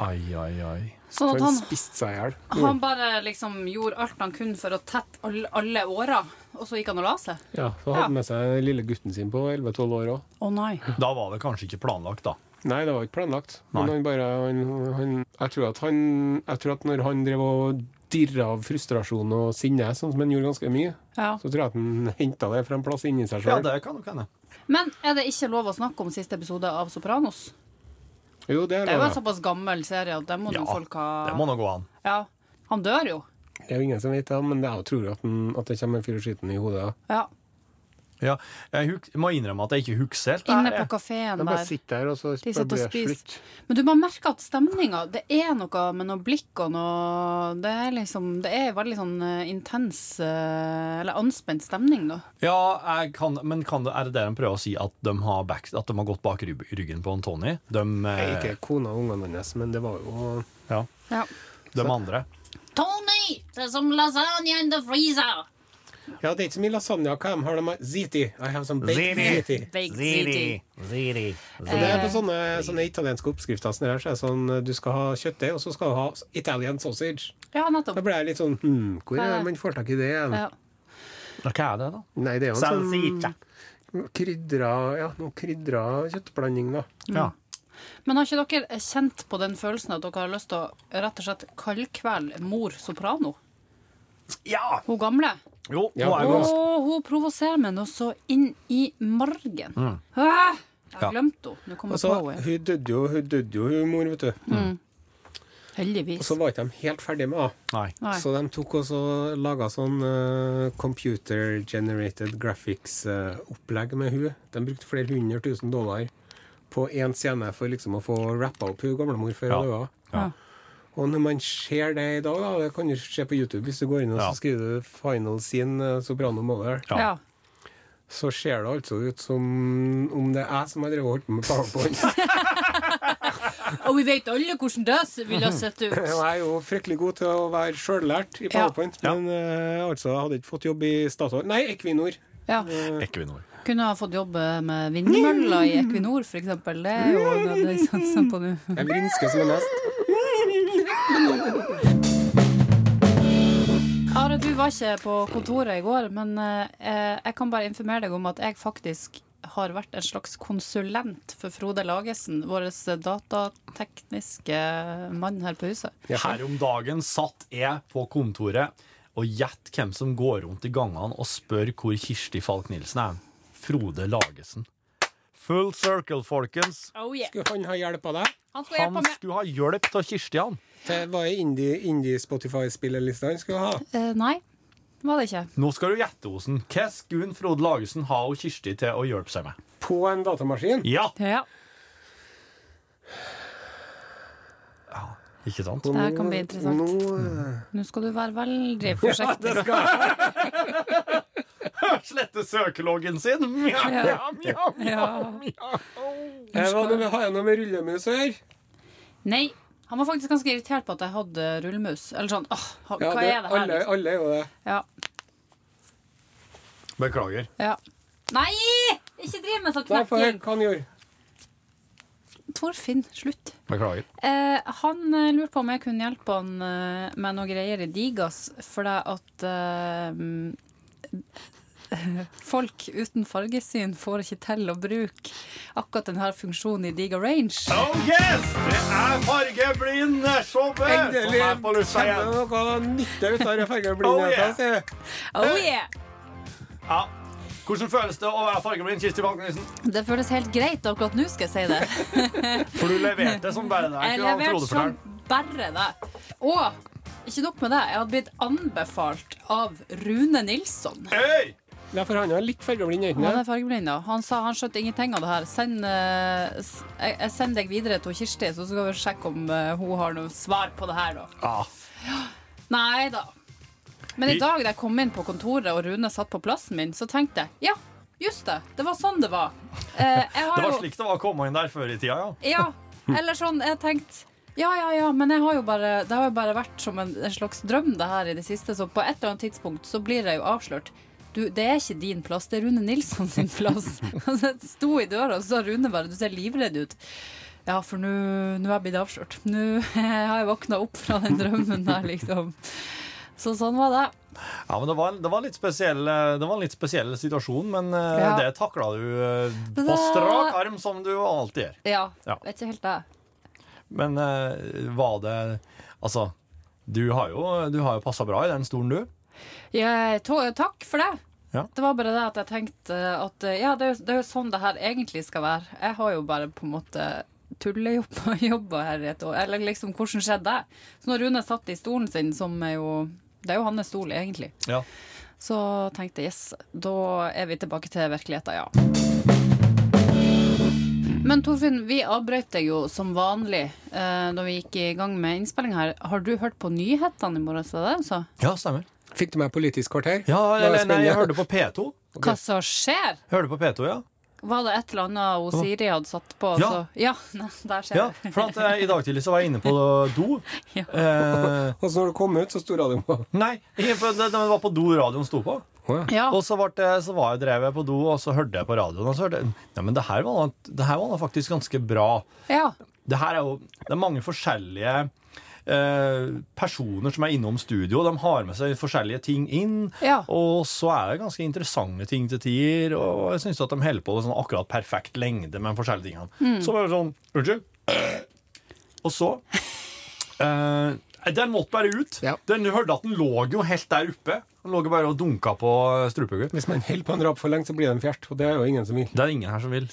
Speaker 2: Ai, ai, ai.
Speaker 4: Så
Speaker 3: Sånn at
Speaker 4: han
Speaker 3: han,
Speaker 4: spiste seg i hjel.
Speaker 3: han bare liksom gjorde alt han kunne for å tette alle, alle åra, og så gikk han og la seg?
Speaker 4: Ja, så
Speaker 3: Ja.
Speaker 4: hadde han med seg den lille gutten sin på 11-12 år òg.
Speaker 3: Å nei.
Speaker 2: Da var det kanskje ikke planlagt, da.
Speaker 4: Nei, det var ikke planlagt. Men
Speaker 2: Nei.
Speaker 4: han bare han, han, jeg, tror at han, jeg tror at når han drev og dirra av frustrasjon og sinne, sånn som han gjorde ganske mye,
Speaker 3: Ja.
Speaker 4: så tror jeg at han henta det fra en plass inni seg
Speaker 2: Ja,
Speaker 4: sjøl.
Speaker 2: det kan nok hende.
Speaker 3: Men er det ikke lov å snakke om siste episode av 'Sopranos'?
Speaker 4: jo, det er
Speaker 3: Det er jo en
Speaker 4: lov.
Speaker 3: såpass gammel serie at det må
Speaker 2: Ja,
Speaker 3: jo folk ha
Speaker 2: Det må nå gå an.
Speaker 3: Ja. Han dør jo.
Speaker 4: Det er jo ingen som vet det, men jeg tror at, han, at det kommer en fyr og skyter han i hodet. da.
Speaker 3: Ja.
Speaker 2: Ja, jeg huk må innrømme at jeg ikke husker helt. det
Speaker 3: Inne på
Speaker 2: her, jeg.
Speaker 3: kafeen
Speaker 4: Han bare
Speaker 3: der.
Speaker 4: sitter der, og så
Speaker 3: De sitter
Speaker 4: blir
Speaker 3: og
Speaker 4: det slutt.
Speaker 3: spiser. Men du bare merker at stemninga Det er noe med noe blikk og noe Det er liksom Det er veldig sånn eh, intens eh, Eller anspent stemning, da.
Speaker 2: Ja, jeg kan, men kan det, er det det de prøver å si, at de har, back, at de har gått bak ryb- ryggen på en Tony? De,
Speaker 4: Nei,
Speaker 2: eh,
Speaker 4: ikke kona og ungene hans, men det var jo
Speaker 2: ja,
Speaker 3: Ja.
Speaker 2: de andre.
Speaker 6: Tony, there's some lasagna in the freezer.
Speaker 4: Ja, det er ikke så mye lasagne. Hva de har de? Ziti. I have some baked
Speaker 5: Ziti.
Speaker 4: ziti.
Speaker 3: Baked
Speaker 5: Ziri,
Speaker 3: ziti.
Speaker 5: Ziri.
Speaker 4: Så det er på sånne, sånne italienske oppskrifter som det her, så er det sånn, du skal ha kjøttdeig, og så skal du ha Italian sausage.
Speaker 3: Ja,
Speaker 4: Da
Speaker 3: nettopp.
Speaker 4: ble jeg litt sånn, hm, hvor er det man får tak i det igjen?
Speaker 3: Ja.
Speaker 2: Ja, Hva er det, da?
Speaker 4: Nei, det er jo en
Speaker 5: Salsiccia.
Speaker 4: sånn krydra, ja, noe krydra kjøttblanding da.
Speaker 2: Ja.
Speaker 3: Men har ikke dere kjent på den følelsen at dere har lyst til å rett og slett kaldkvelde mor Soprano?
Speaker 2: ja!
Speaker 3: Hun gamle?
Speaker 2: Jo,
Speaker 4: Ja,
Speaker 2: nå er vi
Speaker 4: og-
Speaker 2: ganske-
Speaker 3: Å, hun provoserer meg nå så inn i margen. Ah, Jeg har
Speaker 2: Ja.
Speaker 3: glemt henne. Nå kommer
Speaker 4: Mm.
Speaker 3: jeg på
Speaker 4: Og så,
Speaker 3: henne.
Speaker 4: Altså, hun døde jo, hun døde jo, hun mor, vet
Speaker 3: Mm.
Speaker 4: du. Og
Speaker 3: Heldigvis.
Speaker 4: så var ikke de helt ferdige med det.
Speaker 2: Nei.
Speaker 3: Nei.
Speaker 4: Så de tok og så laget sånn eh, computer-generated graphics-opplegg med hun. De brukte flere hundre tusen dollar på en scene for liksom å få rappa opp hun gamle mor før
Speaker 2: Ja.
Speaker 4: hun døde.
Speaker 2: Ja.
Speaker 4: Og når man ser det i dag, da, det kan du se på YouTube hvis du går inn og
Speaker 2: Ja.
Speaker 4: så skriver du 'Final Scene eh, Soprano Mother',
Speaker 2: Ja.
Speaker 3: Ja.
Speaker 4: så ser det altså ut som om det er jeg som har drevet og holdt på med powerpoint.
Speaker 3: Og vi vet alle hvordan det
Speaker 4: Mhm.
Speaker 3: ville sett ut.
Speaker 4: Og jeg er jo fryktelig god til å være sjøllært i
Speaker 3: Ja.
Speaker 4: powerpoint,
Speaker 2: Ja.
Speaker 4: men eh, altså, jeg hadde ikke fått jobb i Statoil Nei, Equinor.
Speaker 3: Ja.
Speaker 2: Equinor.
Speaker 3: Kunne ha fått jobbe med vindmøller i Equinor, f.eks. Det er jo det er sånn som på nå.
Speaker 4: Jeg vrinsker som en hest.
Speaker 3: Are, du var ikke på kontoret i går, men eh, jeg kan bare informere deg om at jeg faktisk har vært en slags konsulent for Frode Lagesen, vår datatekniske mann her på huset.
Speaker 2: Her om dagen satt jeg på kontoret og gjett hvem som går rundt i gangene og spør hvor Kirsti Falk Nilsen er. Frode Lagesen. Full circle, folkens.
Speaker 3: Oh, yeah.
Speaker 4: Skulle han ha hjelp av deg?
Speaker 3: Han skal
Speaker 2: Han
Speaker 3: hjelpe meg.
Speaker 2: skulle ha hjelp av Kirsti, han.
Speaker 4: Det var indie-Spotify-spillelista han skulle ha.
Speaker 3: Eh, nei. var det ikke.
Speaker 2: Nå skal du gjette, Osen. Hva skulle Frode Lagesen ha og Kirsti til å hjelpe seg med?
Speaker 4: På en datamaskin.
Speaker 2: Ja!
Speaker 3: Ja,
Speaker 2: Ikke sant?
Speaker 3: det her kan bli
Speaker 4: Nå
Speaker 3: interessant. Nå skal du være veldig forsiktig.
Speaker 2: Slette søkeloggen sin! Mjau, mjau, mjau,
Speaker 3: Ja.
Speaker 4: eh, hva er det med- Har jeg noe med rullemus å gjøre?
Speaker 3: Nei. Han var faktisk ganske irritert på at jeg hadde rullemus. Eller sånn, åh, ha-
Speaker 4: Ja,
Speaker 3: hva er det her?
Speaker 4: Alle,
Speaker 3: liksom?
Speaker 4: alle er jo det.
Speaker 3: Ja,
Speaker 2: Beklager.
Speaker 3: ja. Nei! Ikke driv med sånn
Speaker 4: Nei, få høre
Speaker 3: knekking!
Speaker 4: hva han gjorde.
Speaker 3: Torfinn, slutt.
Speaker 2: Beklager.
Speaker 3: Eh, han eh, lurte på om jeg kunne hjelpe han eh, med noe greier i Digas, fordi at eh, mm, Folk uten fargesyn får ikke til å bruke akkurat denne funksjonen i Diga Range.
Speaker 2: Oh yes! Det er fargeblindshowet som
Speaker 4: Endelig
Speaker 2: er på lufta igjen.
Speaker 4: kommer det noe nytte ut av den
Speaker 2: Oh, yeah.
Speaker 4: fargeblindheten. sier du.
Speaker 3: Oh yeah!
Speaker 2: Ja. Hvordan føles det å være fargeblind, Kirsti Balkenisen?
Speaker 3: Det føles helt greit akkurat nå, skal jeg si det.
Speaker 2: For du leverte som bare det. er
Speaker 3: Jeg
Speaker 2: ikke det han
Speaker 3: leverte
Speaker 2: Frode
Speaker 3: som
Speaker 2: forteller?
Speaker 3: bare det. Og ikke nok med det, jeg hadde blitt anbefalt av Rune Nilsson.
Speaker 2: Hey!
Speaker 4: Nei, for han er litt fargeblind, er han
Speaker 3: Han
Speaker 4: ikke
Speaker 3: er fargeblind, ja. Han sa han skjønte ingenting av det her. Send, eh, s- jeg jeg sender deg videre til Kirsti, så skal vi sjekke om eh, hun har noe svar på det her, da.
Speaker 2: Ja.
Speaker 3: Nei da. Men
Speaker 2: Vi-
Speaker 3: i dag da jeg kom inn på kontoret og Rune satt på plassen min, så tenkte jeg ja, just det. Det var sånn det var. Eh, jeg har
Speaker 2: Det var
Speaker 3: jo-
Speaker 2: slik det var å komme inn der før i tida, ja.
Speaker 3: Ja, eller sånn, jeg tenkte ja, ja, ja, men jeg har jo bare, det har jo bare vært som en, en slags drøm det her i det siste, så på et eller annet tidspunkt så blir jeg jo avslørt. Du, det er ikke din plass, det er Rune Nilsson sin plass. Altså, jeg sto i døra, og så sa Rune bare, du ser livredd ut. Ja, for nå nå er jeg blitt avslørt. Nå har jeg våkna opp fra den drømmen der, liksom. Så sånn var det.
Speaker 2: ja men det var, det, var en litt spesiell, eh, det var en litt spesiell situasjon, men eh,
Speaker 3: Ja.
Speaker 2: det takla du eh, på
Speaker 3: Da-
Speaker 2: strak arm, som du alltid gjør.
Speaker 3: Ja,
Speaker 2: Ja.
Speaker 3: vet ikke helt det.
Speaker 2: Men eh, var det Altså, du har jo, du har jo passa bra i den stolen, du.
Speaker 3: Ja, to- takk for det.
Speaker 2: Ja.
Speaker 3: Det var bare det at jeg tenkte eh, at eh, ja, det er, jo, det er jo sånn det her egentlig skal være. Jeg har jo bare på en måte tullejobba jobba her i et år. Eller liksom, hvordan skjedde det? Så når Rune satt i stolen sin, som er jo Det er jo hans stol, egentlig.
Speaker 2: Ja.
Speaker 3: Så tenkte jeg yes, da er vi tilbake til virkeligheten, ja. Men Torfinn, vi avbrøt deg jo som vanlig eh, da vi gikk i gang med innspilling her. Har du hørt på nyhetene i morges? var det det du sa?
Speaker 2: ja, stemmer.
Speaker 4: det? Fikk du meg Politisk kvarter?
Speaker 2: Ja,
Speaker 4: Var det
Speaker 2: eller, nei, jeg
Speaker 4: spennende?
Speaker 2: hørte på P2.
Speaker 3: Hva som skjer?
Speaker 2: Hørte på P2, ja.
Speaker 3: Var det et eller annet hun Siri hadde satt på?
Speaker 2: Ja.
Speaker 3: Så, ja nei, der ser
Speaker 2: ja
Speaker 3: jeg.
Speaker 2: for at, eh, I dag tidlig så var jeg inne på do.
Speaker 3: Ja.
Speaker 2: Eh,
Speaker 4: Og så når du kom ut, så sto radioen på.
Speaker 2: nei, jeg- for det, det var på do radioen sto på.
Speaker 3: Ja.
Speaker 2: Og så, ble, det- så var jeg, drev jeg på do, og så hørte jeg på radioen. Og så hørte jeg, nei, men det her var, da- det her var da faktisk ganske bra.
Speaker 3: ja.
Speaker 2: Det her er jo det er mange forskjellige eh, personer som er innom studio. De har med seg forskjellige ting inn.
Speaker 3: Ja.
Speaker 2: Og så er det ganske interessante ting til tider. Og jeg syns at de holder på med sånn akkurat perfekt lengde med de forskjellige tingene. Så var det sånn Unnskyld. Og så eh, Den måtte bare ut.
Speaker 4: Ja.
Speaker 2: Den, du hørte at den lå jo helt der oppe. Den lå jo bare og dunka på strupehugget.
Speaker 4: Hvis man holder på en rap for lenge, så blir den fjert. Og det er jo ingen som vil.
Speaker 2: Det er ingen her som vil.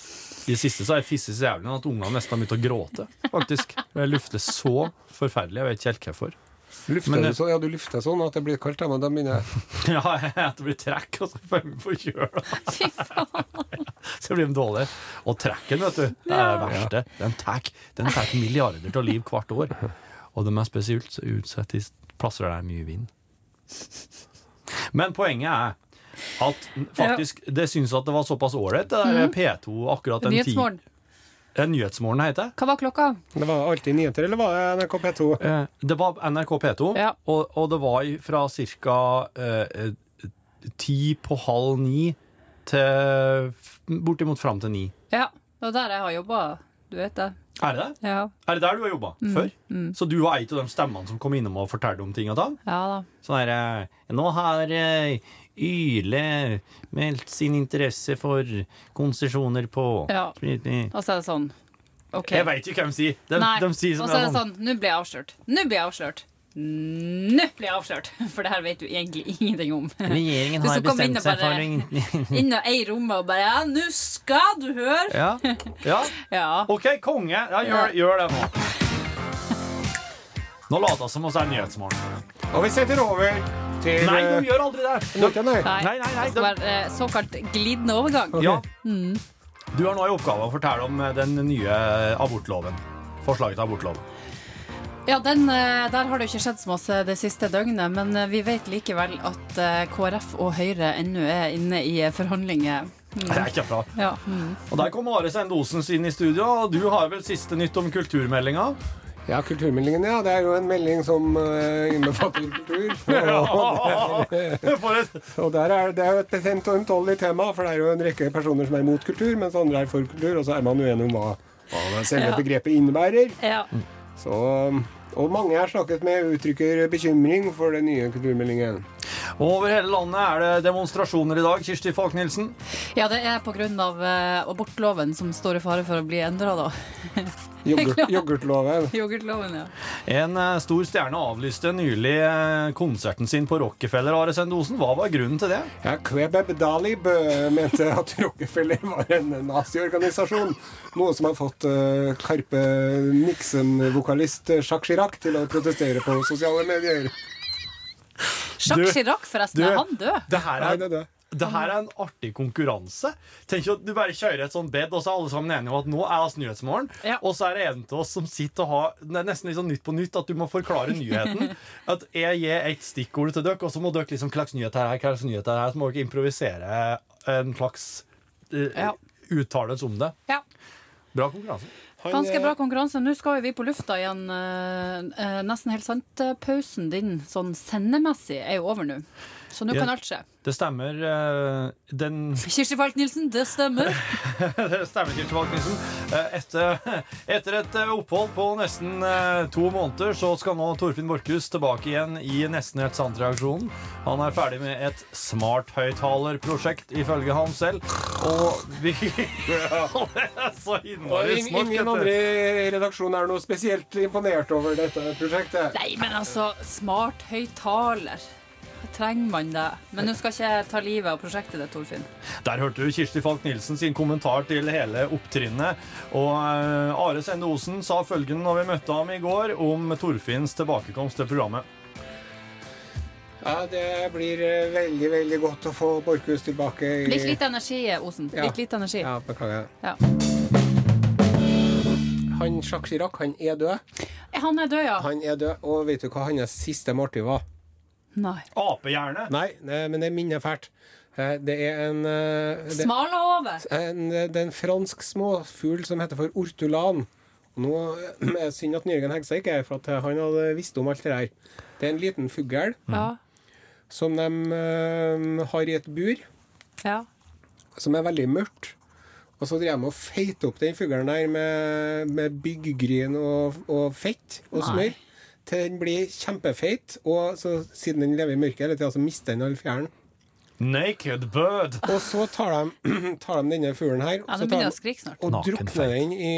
Speaker 2: I det siste så har jeg fisset så jævlig at ungene nesten har begynt å gråte. Faktisk. Jeg lufter så forferdelig. Jeg vet ikke helt hvorfor.
Speaker 4: Lufter
Speaker 2: Men eh,
Speaker 4: du
Speaker 2: det-
Speaker 4: så, ja, du lufter sånn at det blir kaldt, ja, men da begynner jeg
Speaker 2: Ja, jeg- det blir trekk, og så får jeg på kjøla. Så blir de dårlige. Og trekken, vet du, det er det verste. Den tar den tar milliarder av liv hvert år. Og de er spesielt så utsatt i plasser der det er mye vind. Men poenget er at faktisk, det syns at det var såpass ålreit, det der P2 akkurat den ti-
Speaker 3: Nyhetsmorgen.
Speaker 2: Eh, Nyhetsmorgen heter det.
Speaker 3: Hva var klokka?
Speaker 4: Det var alltid nyheter, eller var det NRK P2?
Speaker 2: Eh, Det var NRK P2,
Speaker 3: Ja.
Speaker 2: og, og det var i- fra ca. Eh, eh, ti på halv ni til f- bortimot fram til ni.
Speaker 3: Ja, det var der jeg har jobba. Du vet det.
Speaker 2: Er det det?
Speaker 3: Ja,
Speaker 2: Er det der du har jobba
Speaker 3: Mm,
Speaker 2: før? Så du var ei av de stemmene som kom innom og fortalte om ting og tang?
Speaker 3: ja da.
Speaker 2: Sånn her eh, Nå har eh, Yle meldt sin interesse for konsesjoner på
Speaker 3: Ja. Og så er det sånn. OK.
Speaker 2: Jeg veit jo hva de sier. De,
Speaker 3: Nei.
Speaker 2: de sier som
Speaker 3: og så er det sånn. Nå blir jeg avslørt. Nå blir jeg avslørt. Nå blir jeg avslørt! For det her vet du egentlig ingenting om.
Speaker 2: Regjeringen
Speaker 3: sånn, Hvis har du kom bestemt inn og seg for bare- Inn og ei rommet og bare Ja, nå skal du høre!
Speaker 2: Ja. ja.
Speaker 3: Ja.
Speaker 2: OK, konge. Ja, gjør, gjør det nå. Nå later jeg som oss er Nyhetsmorgen.
Speaker 4: Og vi setter over til
Speaker 2: Nei,
Speaker 4: eh,
Speaker 2: de gjør aldri det!
Speaker 4: Nokia, nei.
Speaker 2: Nei, nei, nei,
Speaker 3: Det skal
Speaker 2: det-
Speaker 3: være eh, såkalt glidende overgang.
Speaker 4: Ok.
Speaker 2: Ja. Du har nå i oppgave å fortelle om eh, den nye abortloven. Forslaget til abortlov.
Speaker 3: Ja, den, eh, Der har det jo ikke skjedd så masse det siste døgnet, men eh, vi vet likevel at eh, KrF og Høyre ennå er inne i eh, forhandlinger. Mm.
Speaker 2: Det er ikke bra.
Speaker 3: Ja. Mm.
Speaker 2: Og der kom Are Sendosen inn i studio, og du har vel siste nytt om kulturmeldinga?
Speaker 4: Ja, kulturmeldingen, ja. Det er jo en melding som eh, innbefatter kultur. Og,
Speaker 2: For et
Speaker 4: og der er, det er jo et betent og ømtålig tema, for det er jo en rekke personer som er mot kultur, mens andre er for kultur, og så er man uenig om hva, hva det selve begrepet innebærer.
Speaker 3: Ja.
Speaker 4: Så, og mange jeg har snakket med, uttrykker bekymring for den nye kulturmeldingen.
Speaker 2: Over hele landet er det demonstrasjoner i dag, Kirsti Falk-Nielsen.
Speaker 3: ja, det er pga. eh, abortloven som står i fare for å bli endra, da.
Speaker 4: Yoghurt, yoghurtloven.
Speaker 3: Yoghurtloven, ja.
Speaker 2: En eh, stor stjerne avlyste nylig eh, konserten sin på Rockefeller, Are Sendosen. Hva var grunnen til det?
Speaker 4: Ja, Kvebeb Dalib eh, mente at Rockefeller var en naziorganisasjon. Noe som har fått eh, Karpe Nixon-vokalist eh, Jacques Chirac til å protestere på sosiale medier.
Speaker 3: Jacques Chirac, forresten.
Speaker 2: du-
Speaker 3: Er han død?
Speaker 2: Det her
Speaker 4: Nei,
Speaker 2: er,
Speaker 4: det er det.
Speaker 2: det her er en artig konkurranse. Tenk at Du bare kjører et sånt bed, og så er alle sammen enige om at nå er oss Nyhetsmorgen.
Speaker 3: Ja.
Speaker 2: Og så er det en av oss som sitter og har Det er nesten litt sånn Nytt på nytt, at du må forklare nyheten. At jeg gir et stikkord til dere, og så må dere liksom Hva slags nyhet er det her? Hva slags nyhet er det her? Så må dere improvisere en slags eh,
Speaker 3: Ja.
Speaker 2: uttalelse om det.
Speaker 3: Ja.
Speaker 2: Bra konkurranse.
Speaker 3: Ganske bra konkurranse. Nå skal jo vi på lufta igjen. eh, eh, Nesten helt sant-pausen din sånn sendemessig er jo over nå. Så nå
Speaker 2: Ja.
Speaker 3: kan alt skje.
Speaker 2: Det stemmer. eh, Den
Speaker 3: Kirsti Falk-Nielsen, det stemmer.
Speaker 2: Det stemmer, Kirsti Falk Nielsen. Eh, Etter, etter et eh, opphold på nesten eh, to måneder, så skal nå Torfinn Borchhus tilbake igjen i Nesten helt sant-reaksjonen. Han er ferdig med et smarthøyttalerprosjekt, ifølge han selv. Og vi Det er så
Speaker 4: Og
Speaker 2: innmari
Speaker 4: in-
Speaker 2: smart.
Speaker 4: ingen
Speaker 2: gutter.
Speaker 4: andre i redaksjonen er noe spesielt imponert over dette prosjektet.
Speaker 3: Nei, men altså, smart høyttaler. Trenger man det? Men nå skal ikke jeg ta livet av prosjektet ditt, Torfinn.
Speaker 2: Der hørte du Kirsti Falk Nielsen sin kommentar til hele opptrinnet. Og eh, Are Sende Osen sa følgende når vi møtte ham i går, om Torfinns tilbakekomst til programmet.
Speaker 4: Ja, Det blir eh, veldig veldig godt å få Borchhus tilbake. i-
Speaker 3: Litt lite energi, Osen.
Speaker 4: Ja.
Speaker 3: Litt lite energi.
Speaker 4: Ja, Beklager.
Speaker 3: Ja.
Speaker 4: Han Jacques Chirac han er død.
Speaker 3: Han er død, ja.
Speaker 4: Han er død, Og vet du hva hans siste måltid var?
Speaker 3: Nei.
Speaker 2: Apehjerne!
Speaker 4: Nei, det, men det minner fælt. Eh, Det er en eh, det,
Speaker 3: Smala over.
Speaker 4: en, eh, det er en fransk småfugl som heter for ortulan. Og Nå eh, er det synd at Jørgen Hegstad ikke er her, for at eh, han hadde visst om alt det her. Det er en liten fugl
Speaker 3: Ja.
Speaker 4: som de eh, har i et bur,
Speaker 3: ja.
Speaker 4: som er veldig mørkt. Og så drev de og feite opp den fuglen der med, med byggryn og, og fett og
Speaker 3: Nei.
Speaker 4: smør. Til den blir kjempefeit, og så, siden den lever i mørket hele tida, så mister den all fjæren.
Speaker 2: Naked bird!
Speaker 4: Og så tar de, tar de denne fuglen her
Speaker 3: ja
Speaker 4: så
Speaker 3: nå
Speaker 4: tar
Speaker 3: begynner
Speaker 4: de-
Speaker 3: jeg å skrike snart.
Speaker 4: Og
Speaker 2: Nakenfeit.
Speaker 4: drukner den i,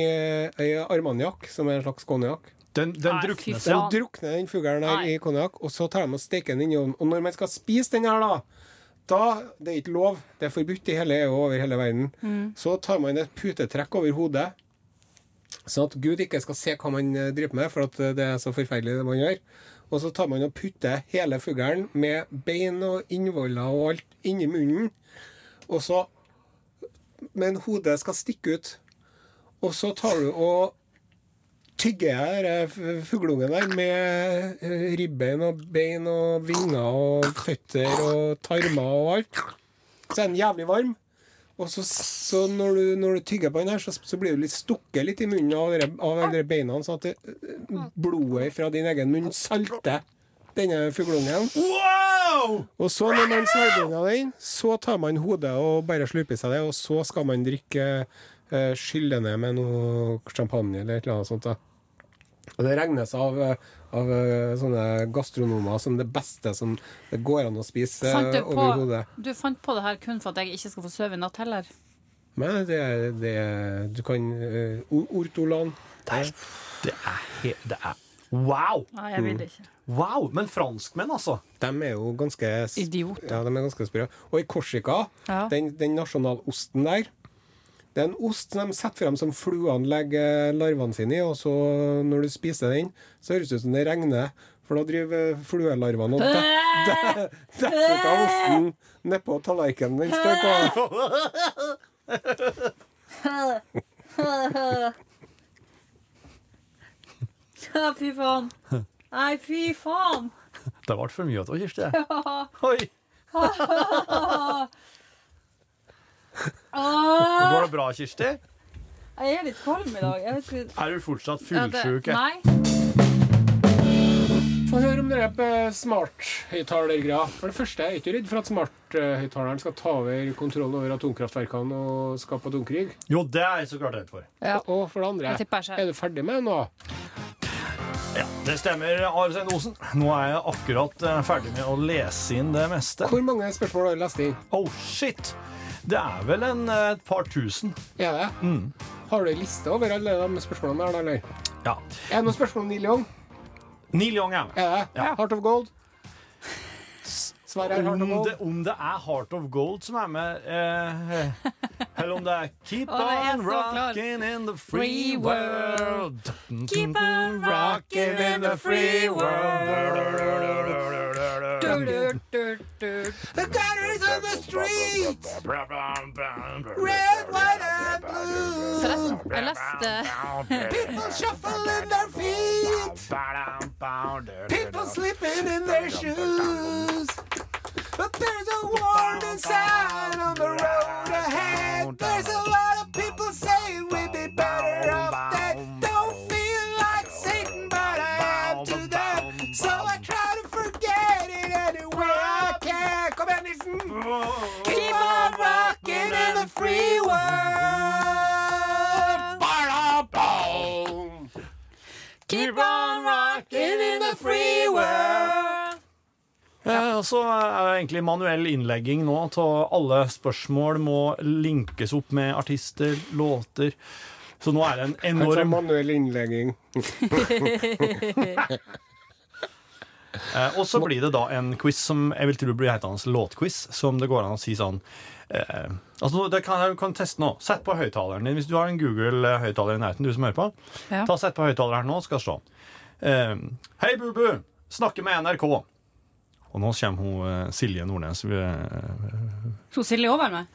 Speaker 4: i armagnac, som er en slags konjakk.
Speaker 2: Den, den
Speaker 3: Nei, fy
Speaker 2: druknes,
Speaker 4: Den
Speaker 2: ja.
Speaker 3: faen.
Speaker 4: drukner den fuglen her
Speaker 3: Nei.
Speaker 4: i konjakk, og så tar de og steker den inn i ovnen. Og når man skal spise den her, da da, Det er ikke lov, det er forbudt i hele EU og over hele verden. Så tar man et putetrekk over hodet, sånn at Gud ikke skal se hva man eh, driver med, for at eh, det er så forferdelig det man gjør. Og så tar man og putter hele fuglen med bein og innvoller og alt inni munnen. Og så Men hodet skal stikke ut. Og så tar du og tygger jeg den f- fugleungen der med eh, ribbein og bein og vinger og føtter og tarmer og alt. Så er den jævlig varm. Og så, så når, du, når du tygger på den her, så, så blir du litt stukket litt i munnen av, dere, av alle dere beina, sånn at det, eh, blodet fra din egen munn salter denne fugleungen.
Speaker 2: Wow!
Speaker 4: Og så når man svelger unna den, så tar man hodet og bare slurper i seg det, og så skal man drikke eh, skylle ned med noe champagne eller et eller annet sånt. da. Og det regnes av, eh, av eh, sånne gastronomer som det beste som det går an å spise
Speaker 3: Fant
Speaker 4: eh,
Speaker 3: du,
Speaker 4: over
Speaker 3: på,
Speaker 4: hodet.
Speaker 3: du fant på det her kun for at jeg ikke skal få sove i natt heller?
Speaker 4: Men det, er- det er- Du kan eh, o- Ortolan.
Speaker 2: Det er, he det er Wow!
Speaker 3: Nei, jeg
Speaker 4: Mm.
Speaker 3: vil ikke.
Speaker 2: Wow! Men franskmenn, altså.
Speaker 4: De er jo ganske s-
Speaker 3: Idioter.
Speaker 4: Ja, de er ganske sprø. Og i Korsika,
Speaker 3: Ja.
Speaker 4: den, den nasjonalosten der, Det er en ost som de setter fram som fluene legger eh, larvene sine i, og så når du spiser den, så høres det ut som det regner. For da driver eh, fluelarvene og detter det- detter av osten nedpå tallerkenen den står på.
Speaker 7: Ja, fy faen. Nei, fy faen.
Speaker 2: Det ble for mye av det, Kirsti. Oi.
Speaker 3: Ah.
Speaker 2: Går det bra, Kirsti?
Speaker 7: Jeg er litt kvalm i dag. Jeg vet ikke
Speaker 2: Er du fortsatt
Speaker 3: Ja, det-
Speaker 2: fuglesjuk?
Speaker 3: Nei.
Speaker 4: Få høre om dere på smarthøyttalergreia. For det første er jeg ikke redd for at smarthøyttaleren skal ta over kontrollen over atomkraftverkene og skape atomkrig.
Speaker 2: Jo, det er jeg så klart redd for.
Speaker 3: Ja.
Speaker 4: Og for det andre,
Speaker 3: Jeg tipper jeg selv.
Speaker 4: er du ferdig med det nå?
Speaker 2: Ja, Det stemmer, Arsen Osen. Nå er jeg akkurat eh, ferdig med å lese inn det meste.
Speaker 4: Hvor mange spørsmål har du lest inn?
Speaker 2: Oh, shit! Det er vel en, eh, et par tusen.
Speaker 4: Er det? Har du en liste over alle de spørsmålene der, da, eller?
Speaker 2: Ja.
Speaker 4: Er det noen spørsmål om Neil Young?
Speaker 2: Neil Young er med.
Speaker 4: Er det?
Speaker 2: Ja.
Speaker 4: Heart of Gold? Sverre er Heart
Speaker 2: Om
Speaker 4: of Gold.
Speaker 2: det, om det er Heart of Gold som er med, eh, eller om det er Keep
Speaker 3: det er
Speaker 2: on
Speaker 3: så klart.
Speaker 2: rocking in the free world.
Speaker 7: Keep on
Speaker 2: rocking in the free
Speaker 7: Du,
Speaker 2: world.
Speaker 7: du, du, du.
Speaker 4: The gutters on the street!
Speaker 3: Forresten, jeg leste
Speaker 4: People shuffling their feet! People slipping in their shoes! But there's a warning sign on the road ahead! There's a lot of people saying we'd be better off dead! Don't feel like Satan, but I am to them! So I try to forget it anyway I can! Kom igjen, Nilsen! Keep on rocking in the free world!
Speaker 7: Keep on rocking in the free world.
Speaker 2: Eh, og så er det egentlig manuell innlegging nå av alle spørsmål må linkes opp med artister, låter. Så nå er det en enorm
Speaker 4: manuell innlegging.
Speaker 2: eh, Og så blir det da en quiz som jeg vil tro blir hetende låtquiz, som det går an å si sånn eh, Altså, det kan, jeg kan teste nå. Sett på høyttaleren din. Hvis du har en Google-høyttaler i nærheten, du som hører på.
Speaker 3: Ja.
Speaker 2: Ta Sett på høyttaleren nå, skal se. Eh, Hei, Bubu! Snakker med NRK. Og nå kommer hun eh, Silje Nordnes. eh,
Speaker 3: Tror Silje over meg?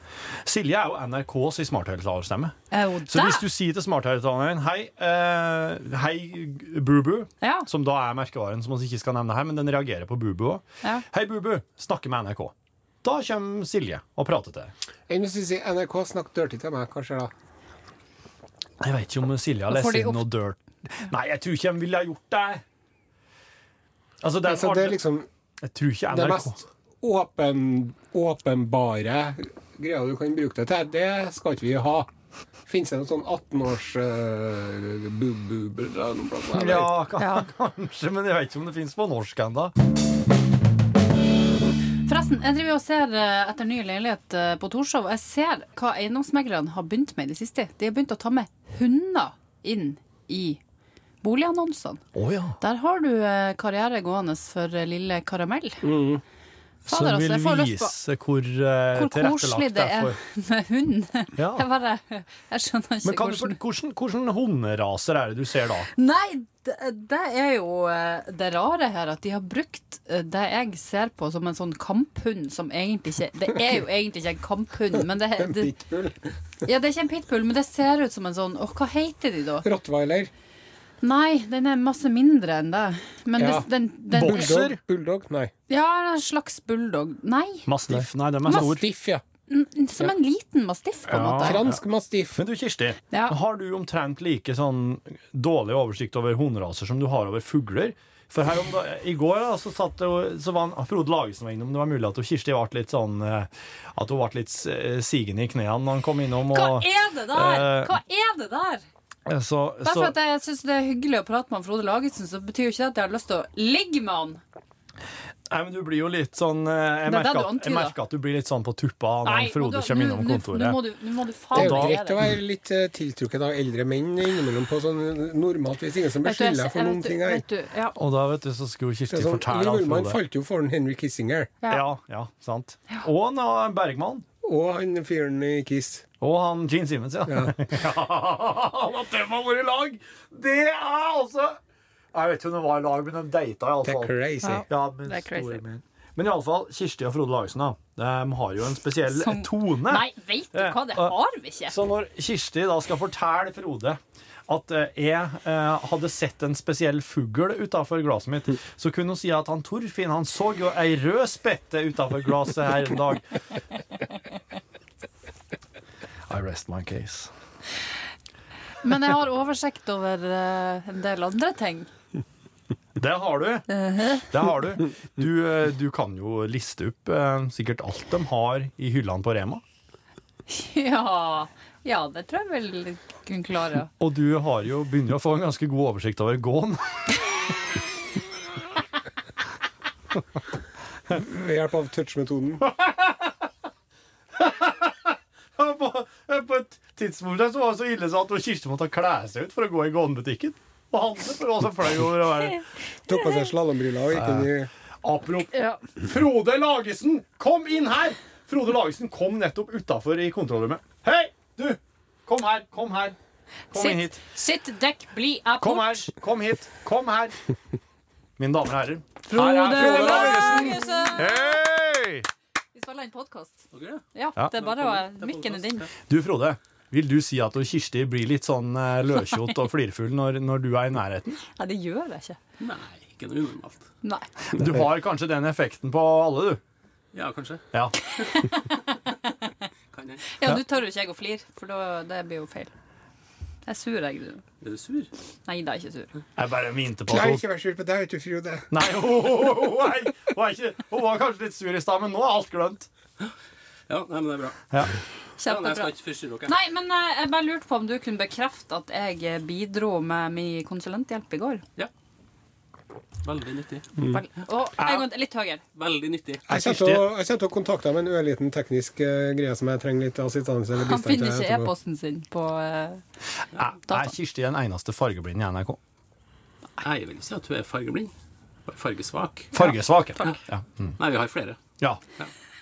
Speaker 2: Silje er jo NRKs i smarthøyttalerstemme.
Speaker 3: Er hun
Speaker 2: Så hvis
Speaker 3: der?
Speaker 2: du sier til smarthøyttaleren Hei, eh, hei Bubu,
Speaker 3: Ja.
Speaker 2: som da er merkevaren som vi ikke skal nevne her, men den reagerer på Bubu òg.
Speaker 3: Ja.
Speaker 2: Hei, Bubu, snakke med NRK. Da kommer Silje og prater til deg.
Speaker 4: Enn hvis du sier NRK snakk dirty til meg, hva skjer da?
Speaker 2: Jeg vet ikke om Silje har
Speaker 3: Da får
Speaker 2: lest
Speaker 3: de
Speaker 2: inn
Speaker 3: opp-
Speaker 2: noe dirt. Nei, jeg tror ikke de ville ha gjort det. Altså, det er,
Speaker 4: Altså, det er liksom
Speaker 2: Jeg tror ikke
Speaker 4: det
Speaker 2: NRK
Speaker 4: mest åpen, åpenbare greia du kan bruke det til. Det skal ikke vi ha. Fins det noen sånn 18-års uh,
Speaker 2: ja,
Speaker 4: bu-bu-bu
Speaker 2: ka- kanskje, men jeg vet ikke om det fins på norsk ennå.
Speaker 3: Forresten, jeg driver og ser eh, etter ny leilighet eh, på Torshov, og jeg ser hva eiendomsmeglerne har begynt med i det siste. De har begynt å ta med hunder inn i boligannonsene.
Speaker 2: Oh, ja.
Speaker 3: Der har du eh, karriere gående for eh, lille Karamell.
Speaker 2: Mm. Som
Speaker 3: Fader, altså,
Speaker 2: vil
Speaker 3: jeg får lyst på-
Speaker 2: vise hvor, eh,
Speaker 3: Hvor koselig
Speaker 2: tilrettelagt
Speaker 3: det er med hund.
Speaker 2: Ja.
Speaker 3: Jeg bare Jeg skjønner ikke
Speaker 2: Men kan du,
Speaker 3: hvordan
Speaker 2: hvordan, hvordan hunderaser er det du ser da?
Speaker 3: Nei, det, det er jo eh, det rare her at de har brukt eh, det jeg ser på som en sånn kamphund som egentlig ikke Det er jo egentlig ikke en kamphund, men det, det,
Speaker 4: Pitbull.
Speaker 3: ja, det er ikke en pitbull, men det ser ut som en sånn Åh, hva heter de da?
Speaker 4: Rottweiler.
Speaker 3: Nei, den er masse mindre enn det. Men
Speaker 4: Ja.
Speaker 3: det, den, den
Speaker 2: Bokser?
Speaker 4: Bulldog. Bulldog? Nei.
Speaker 3: Ja, en slags bulldog. Nei,
Speaker 2: Mastiff? Nei, de er stor.
Speaker 4: Mastiff, ja.
Speaker 3: som en liten mastiff, på en
Speaker 2: Ja.
Speaker 3: måte.
Speaker 4: Fransk mastiff.
Speaker 2: Men du, Kirsti,
Speaker 3: Ja.
Speaker 2: har du omtrent like sånn dårlig oversikt over hunderaser som du har over fugler? For her om da, I går da, så, satt det, jo- så var han, Frode Lagesen var innom. Det var mulig at hun, Kirsti ble litt sånn eh, At hun ble litt eh, sigende i knærne når han kom innom.
Speaker 3: Hva
Speaker 2: Og,
Speaker 3: er det der?
Speaker 2: eh,
Speaker 3: Hva er det der?
Speaker 2: eh, så,
Speaker 3: Bare for
Speaker 2: så,
Speaker 3: at jeg syns det er hyggelig å prate med han Frode Lagesen, så betyr jo ikke det at jeg har lyst til å ligge med han.
Speaker 2: nei, men du blir jo litt sånn eh, Jeg
Speaker 3: Det er det
Speaker 2: merker
Speaker 3: du
Speaker 2: at, jeg
Speaker 3: antyder.
Speaker 2: merker at du blir litt sånn på tuppa når
Speaker 3: Nei,
Speaker 2: han Frode
Speaker 3: nå-
Speaker 2: kommer
Speaker 3: nå-
Speaker 2: innom
Speaker 3: nå- Nå
Speaker 2: kontoret.
Speaker 3: må du, nå må du
Speaker 4: Det
Speaker 3: faen
Speaker 4: er jo
Speaker 3: meg
Speaker 4: greit
Speaker 3: gjøre det.
Speaker 4: å være litt eh, tiltrukket av eldre menn innimellom på sånn normalt hvis ingen som
Speaker 3: Vet du, jeg-
Speaker 4: beskylder deg for
Speaker 3: jeg
Speaker 4: noen
Speaker 3: vet du-
Speaker 4: ting her.
Speaker 3: vet du, ja.
Speaker 2: Og da vet du, så skulle Kirsti
Speaker 4: Det er sånn,
Speaker 2: fortelle
Speaker 4: Liv
Speaker 2: han
Speaker 4: Ullmann
Speaker 2: Frode.
Speaker 4: falt jo for en Henry Kissinger.
Speaker 3: Ja.
Speaker 2: Ja, ja, sant. Og nå Bergman.
Speaker 4: og han fyren i Kiss.
Speaker 2: Og han Gene Simmons, ja. ja. at de har vært i lag! Det er altså Jeg vet ikke om de var i lag, men de data
Speaker 4: Det er
Speaker 2: iallfall.
Speaker 4: crazy.
Speaker 3: Ja.
Speaker 2: Ja, men,
Speaker 3: Det er crazy.
Speaker 2: store men. men iallfall, Kirsti og Frode Lagesen da, de har jo en spesiell
Speaker 3: Som-
Speaker 2: tone.
Speaker 6: Nei, veit du hva, det har vi ikke.
Speaker 2: Så når Kirsti da skal fortelle Frode at eh, jeg eh, hadde sett en spesiell fugl utafor glasset mitt, så kunne hun si at han Torfinn han så jo ei rød spette utafor glasset her en dag. I rest my case.
Speaker 3: Men jeg har oversikt over eh, en del andre ting.
Speaker 2: Det har du. Det har du. Du, eh, du kan jo liste opp eh, sikkert alt de har i hyllene på Rema.
Speaker 3: Ja, ja det tror jeg vel kunne klare.
Speaker 2: Og du har jo begynner jo å få en ganske god oversikt over gåen.
Speaker 4: Ved hjelp av touch-metoden.
Speaker 2: på, eh, på et tidspunkt der så var det så ille så at Kirsti måtte kle seg ut for å gå i gåenbutikken. Og handle for å være så flau over å være
Speaker 4: Tok på seg slalåmbriller og gikk inn i
Speaker 2: Aprop. Frode Lagesen, kom inn her! Frode Lagesen kom nettopp utafor i kontrollrommet. Hei, du! Kom her, kom her. Kom inn
Speaker 6: Sitt,
Speaker 2: hit.
Speaker 6: sitt dekk, bli
Speaker 2: Kom
Speaker 6: apport.
Speaker 2: her, kom hit, kom her. Mine damer og herrer, her
Speaker 3: Frode
Speaker 2: er Frode Lagesen!
Speaker 3: Lagesen!
Speaker 2: Hei!
Speaker 3: Vi spiller en podkast. Ja, det er bare å Mikken er din.
Speaker 2: Du, Frode. Vil du si at Kirsti blir litt sånn eh, løkjot og flirfull når, når du er i nærheten?
Speaker 3: Nei, det gjør jeg ikke.
Speaker 8: Nei, ikke noe unormalt.
Speaker 3: Nei.
Speaker 2: Du har kanskje den effekten på alle, du.
Speaker 8: Ja, kanskje.
Speaker 2: Ja.
Speaker 8: Kan jeg.
Speaker 3: Ja, nå tør jo ikke jeg å flire, for da, det blir jo feil. Jeg er sur, jeg.
Speaker 8: Er du sur?
Speaker 3: Nei da, jeg er ikke sur.
Speaker 2: Jeg bare minte på
Speaker 4: Nei,
Speaker 2: at hun
Speaker 4: ikke vær sur på deg, vet du, Frode.
Speaker 2: Nei, hun, hun, hun, er ikke- hun, er ikke, hun var kanskje litt sur i stad, men nå er alt glemt.
Speaker 8: Ja, nei, men det er bra. Ja, nei, jeg
Speaker 3: Kjempebra.
Speaker 8: skal ikke forstyrre dere.
Speaker 3: Nei, men eh, jeg bare lurte på om du kunne bekrefte at jeg eh, bidro med min konsulenthjelp i går.
Speaker 8: Veldig nyttig.
Speaker 3: Vel, og en gang til, litt høyere.
Speaker 8: Veldig nyttig.
Speaker 4: Jeg kommer til å- jeg kommer til å kontakte deg med en ørliten teknisk eh, greie som jeg trenger litt assistanse eller
Speaker 3: Han
Speaker 4: bistand til.
Speaker 3: finner ikke
Speaker 4: etterpå.
Speaker 3: e-posten sin på eh,
Speaker 2: Er, er Kirsti den eneste fargeblinden i NRK?
Speaker 8: Jeg vil ikke si at hun er fargeblind. Bare Fargesvak.
Speaker 2: Fargesvak. ja. Ja.
Speaker 8: Nei, vi har flere.
Speaker 2: ja.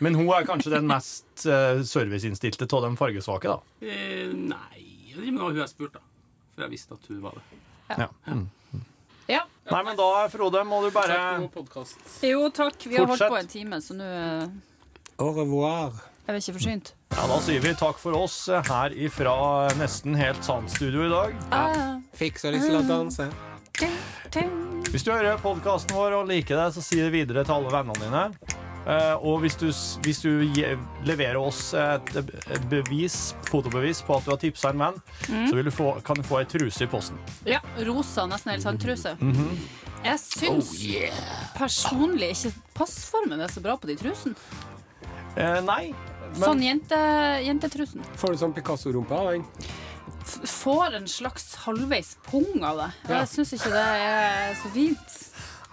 Speaker 2: Men hun er kanskje den mest eh, serviceinnstilte av de fargesvake, da.
Speaker 8: Eh, nei, men det var hun jeg spurte, da. For jeg visste at hun var det.
Speaker 2: Ja. Mm.
Speaker 3: Ja.
Speaker 2: Nei, men da, Frode, må du bare
Speaker 8: God podcast.
Speaker 3: Jo, takk. Vi har holdt
Speaker 2: Fortsett.
Speaker 3: på en time, så nå eh,
Speaker 4: Au revoir.
Speaker 3: er vi ikke forsynt.
Speaker 2: Ja, da sier vi takk for oss eh, her ifra nesten helt Sandstudio i dag.
Speaker 3: Ah,
Speaker 4: Fikk så lyst til å danse.
Speaker 3: ting, ting.
Speaker 2: Hvis du hører podkasten vår og liker det, så si det videre til alle vennene dine. Eh, og hvis du, s- hvis du gi- leverer oss et et bevis, fotobevis på at du har tipsa en venn,
Speaker 3: Mm.
Speaker 2: så vil du få, kan du få ei truse i posten.
Speaker 3: Ja, rosa nesten helt sandtruse. Jeg syns personlig ikke passformen er så bra på de trusene.
Speaker 2: Eh, nei,
Speaker 3: Sånn jente, jentetrusen.
Speaker 4: Får du sånn Picasso-rumpe av den?
Speaker 3: F- Får en slags halvveis pung av det. Jeg syns ikke det er så fint.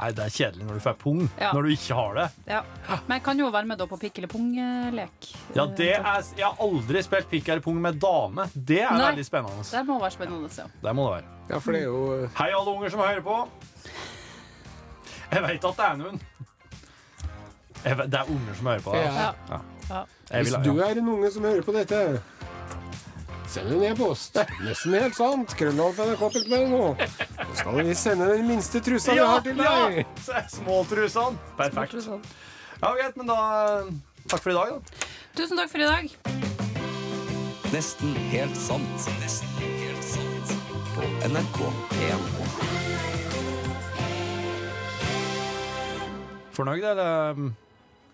Speaker 2: nei, det er kjedelig når du får pung
Speaker 3: Ja.
Speaker 2: når du ikke har det.
Speaker 3: Ja. Men jeg kan jo være med da på pikk eller pung-lek.
Speaker 2: Ja, det er, jeg har aldri spilt pikk eller pung med dame. Det er
Speaker 3: Nei.
Speaker 2: veldig spennende.
Speaker 3: Det må være spennende å se.
Speaker 2: Det må det være.
Speaker 4: Ja, for det er jo
Speaker 2: Hei, alle unger som hører på. Jeg veit at det er noen. Jeg vet, det er unger som hører på. altså.
Speaker 4: ja.
Speaker 2: Jeg
Speaker 4: Hvis
Speaker 2: vil-
Speaker 4: du er en unge som hører på dette, send en e-post. Nesten helt sant. Krøllalf.nrk.no. Så skal vi sende den minste trusa vi har til deg.
Speaker 2: Ja, Småtrusene. Perfekt. Ja, greit, men da Takk for i dag, da.
Speaker 3: Tusen takk for i dag.
Speaker 1: Nesten helt sant. Nesten helt sant. På NRK P1.
Speaker 2: Fornøyd, eller?
Speaker 4: um,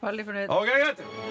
Speaker 3: Veldig fornøyd.
Speaker 2: OK, greit.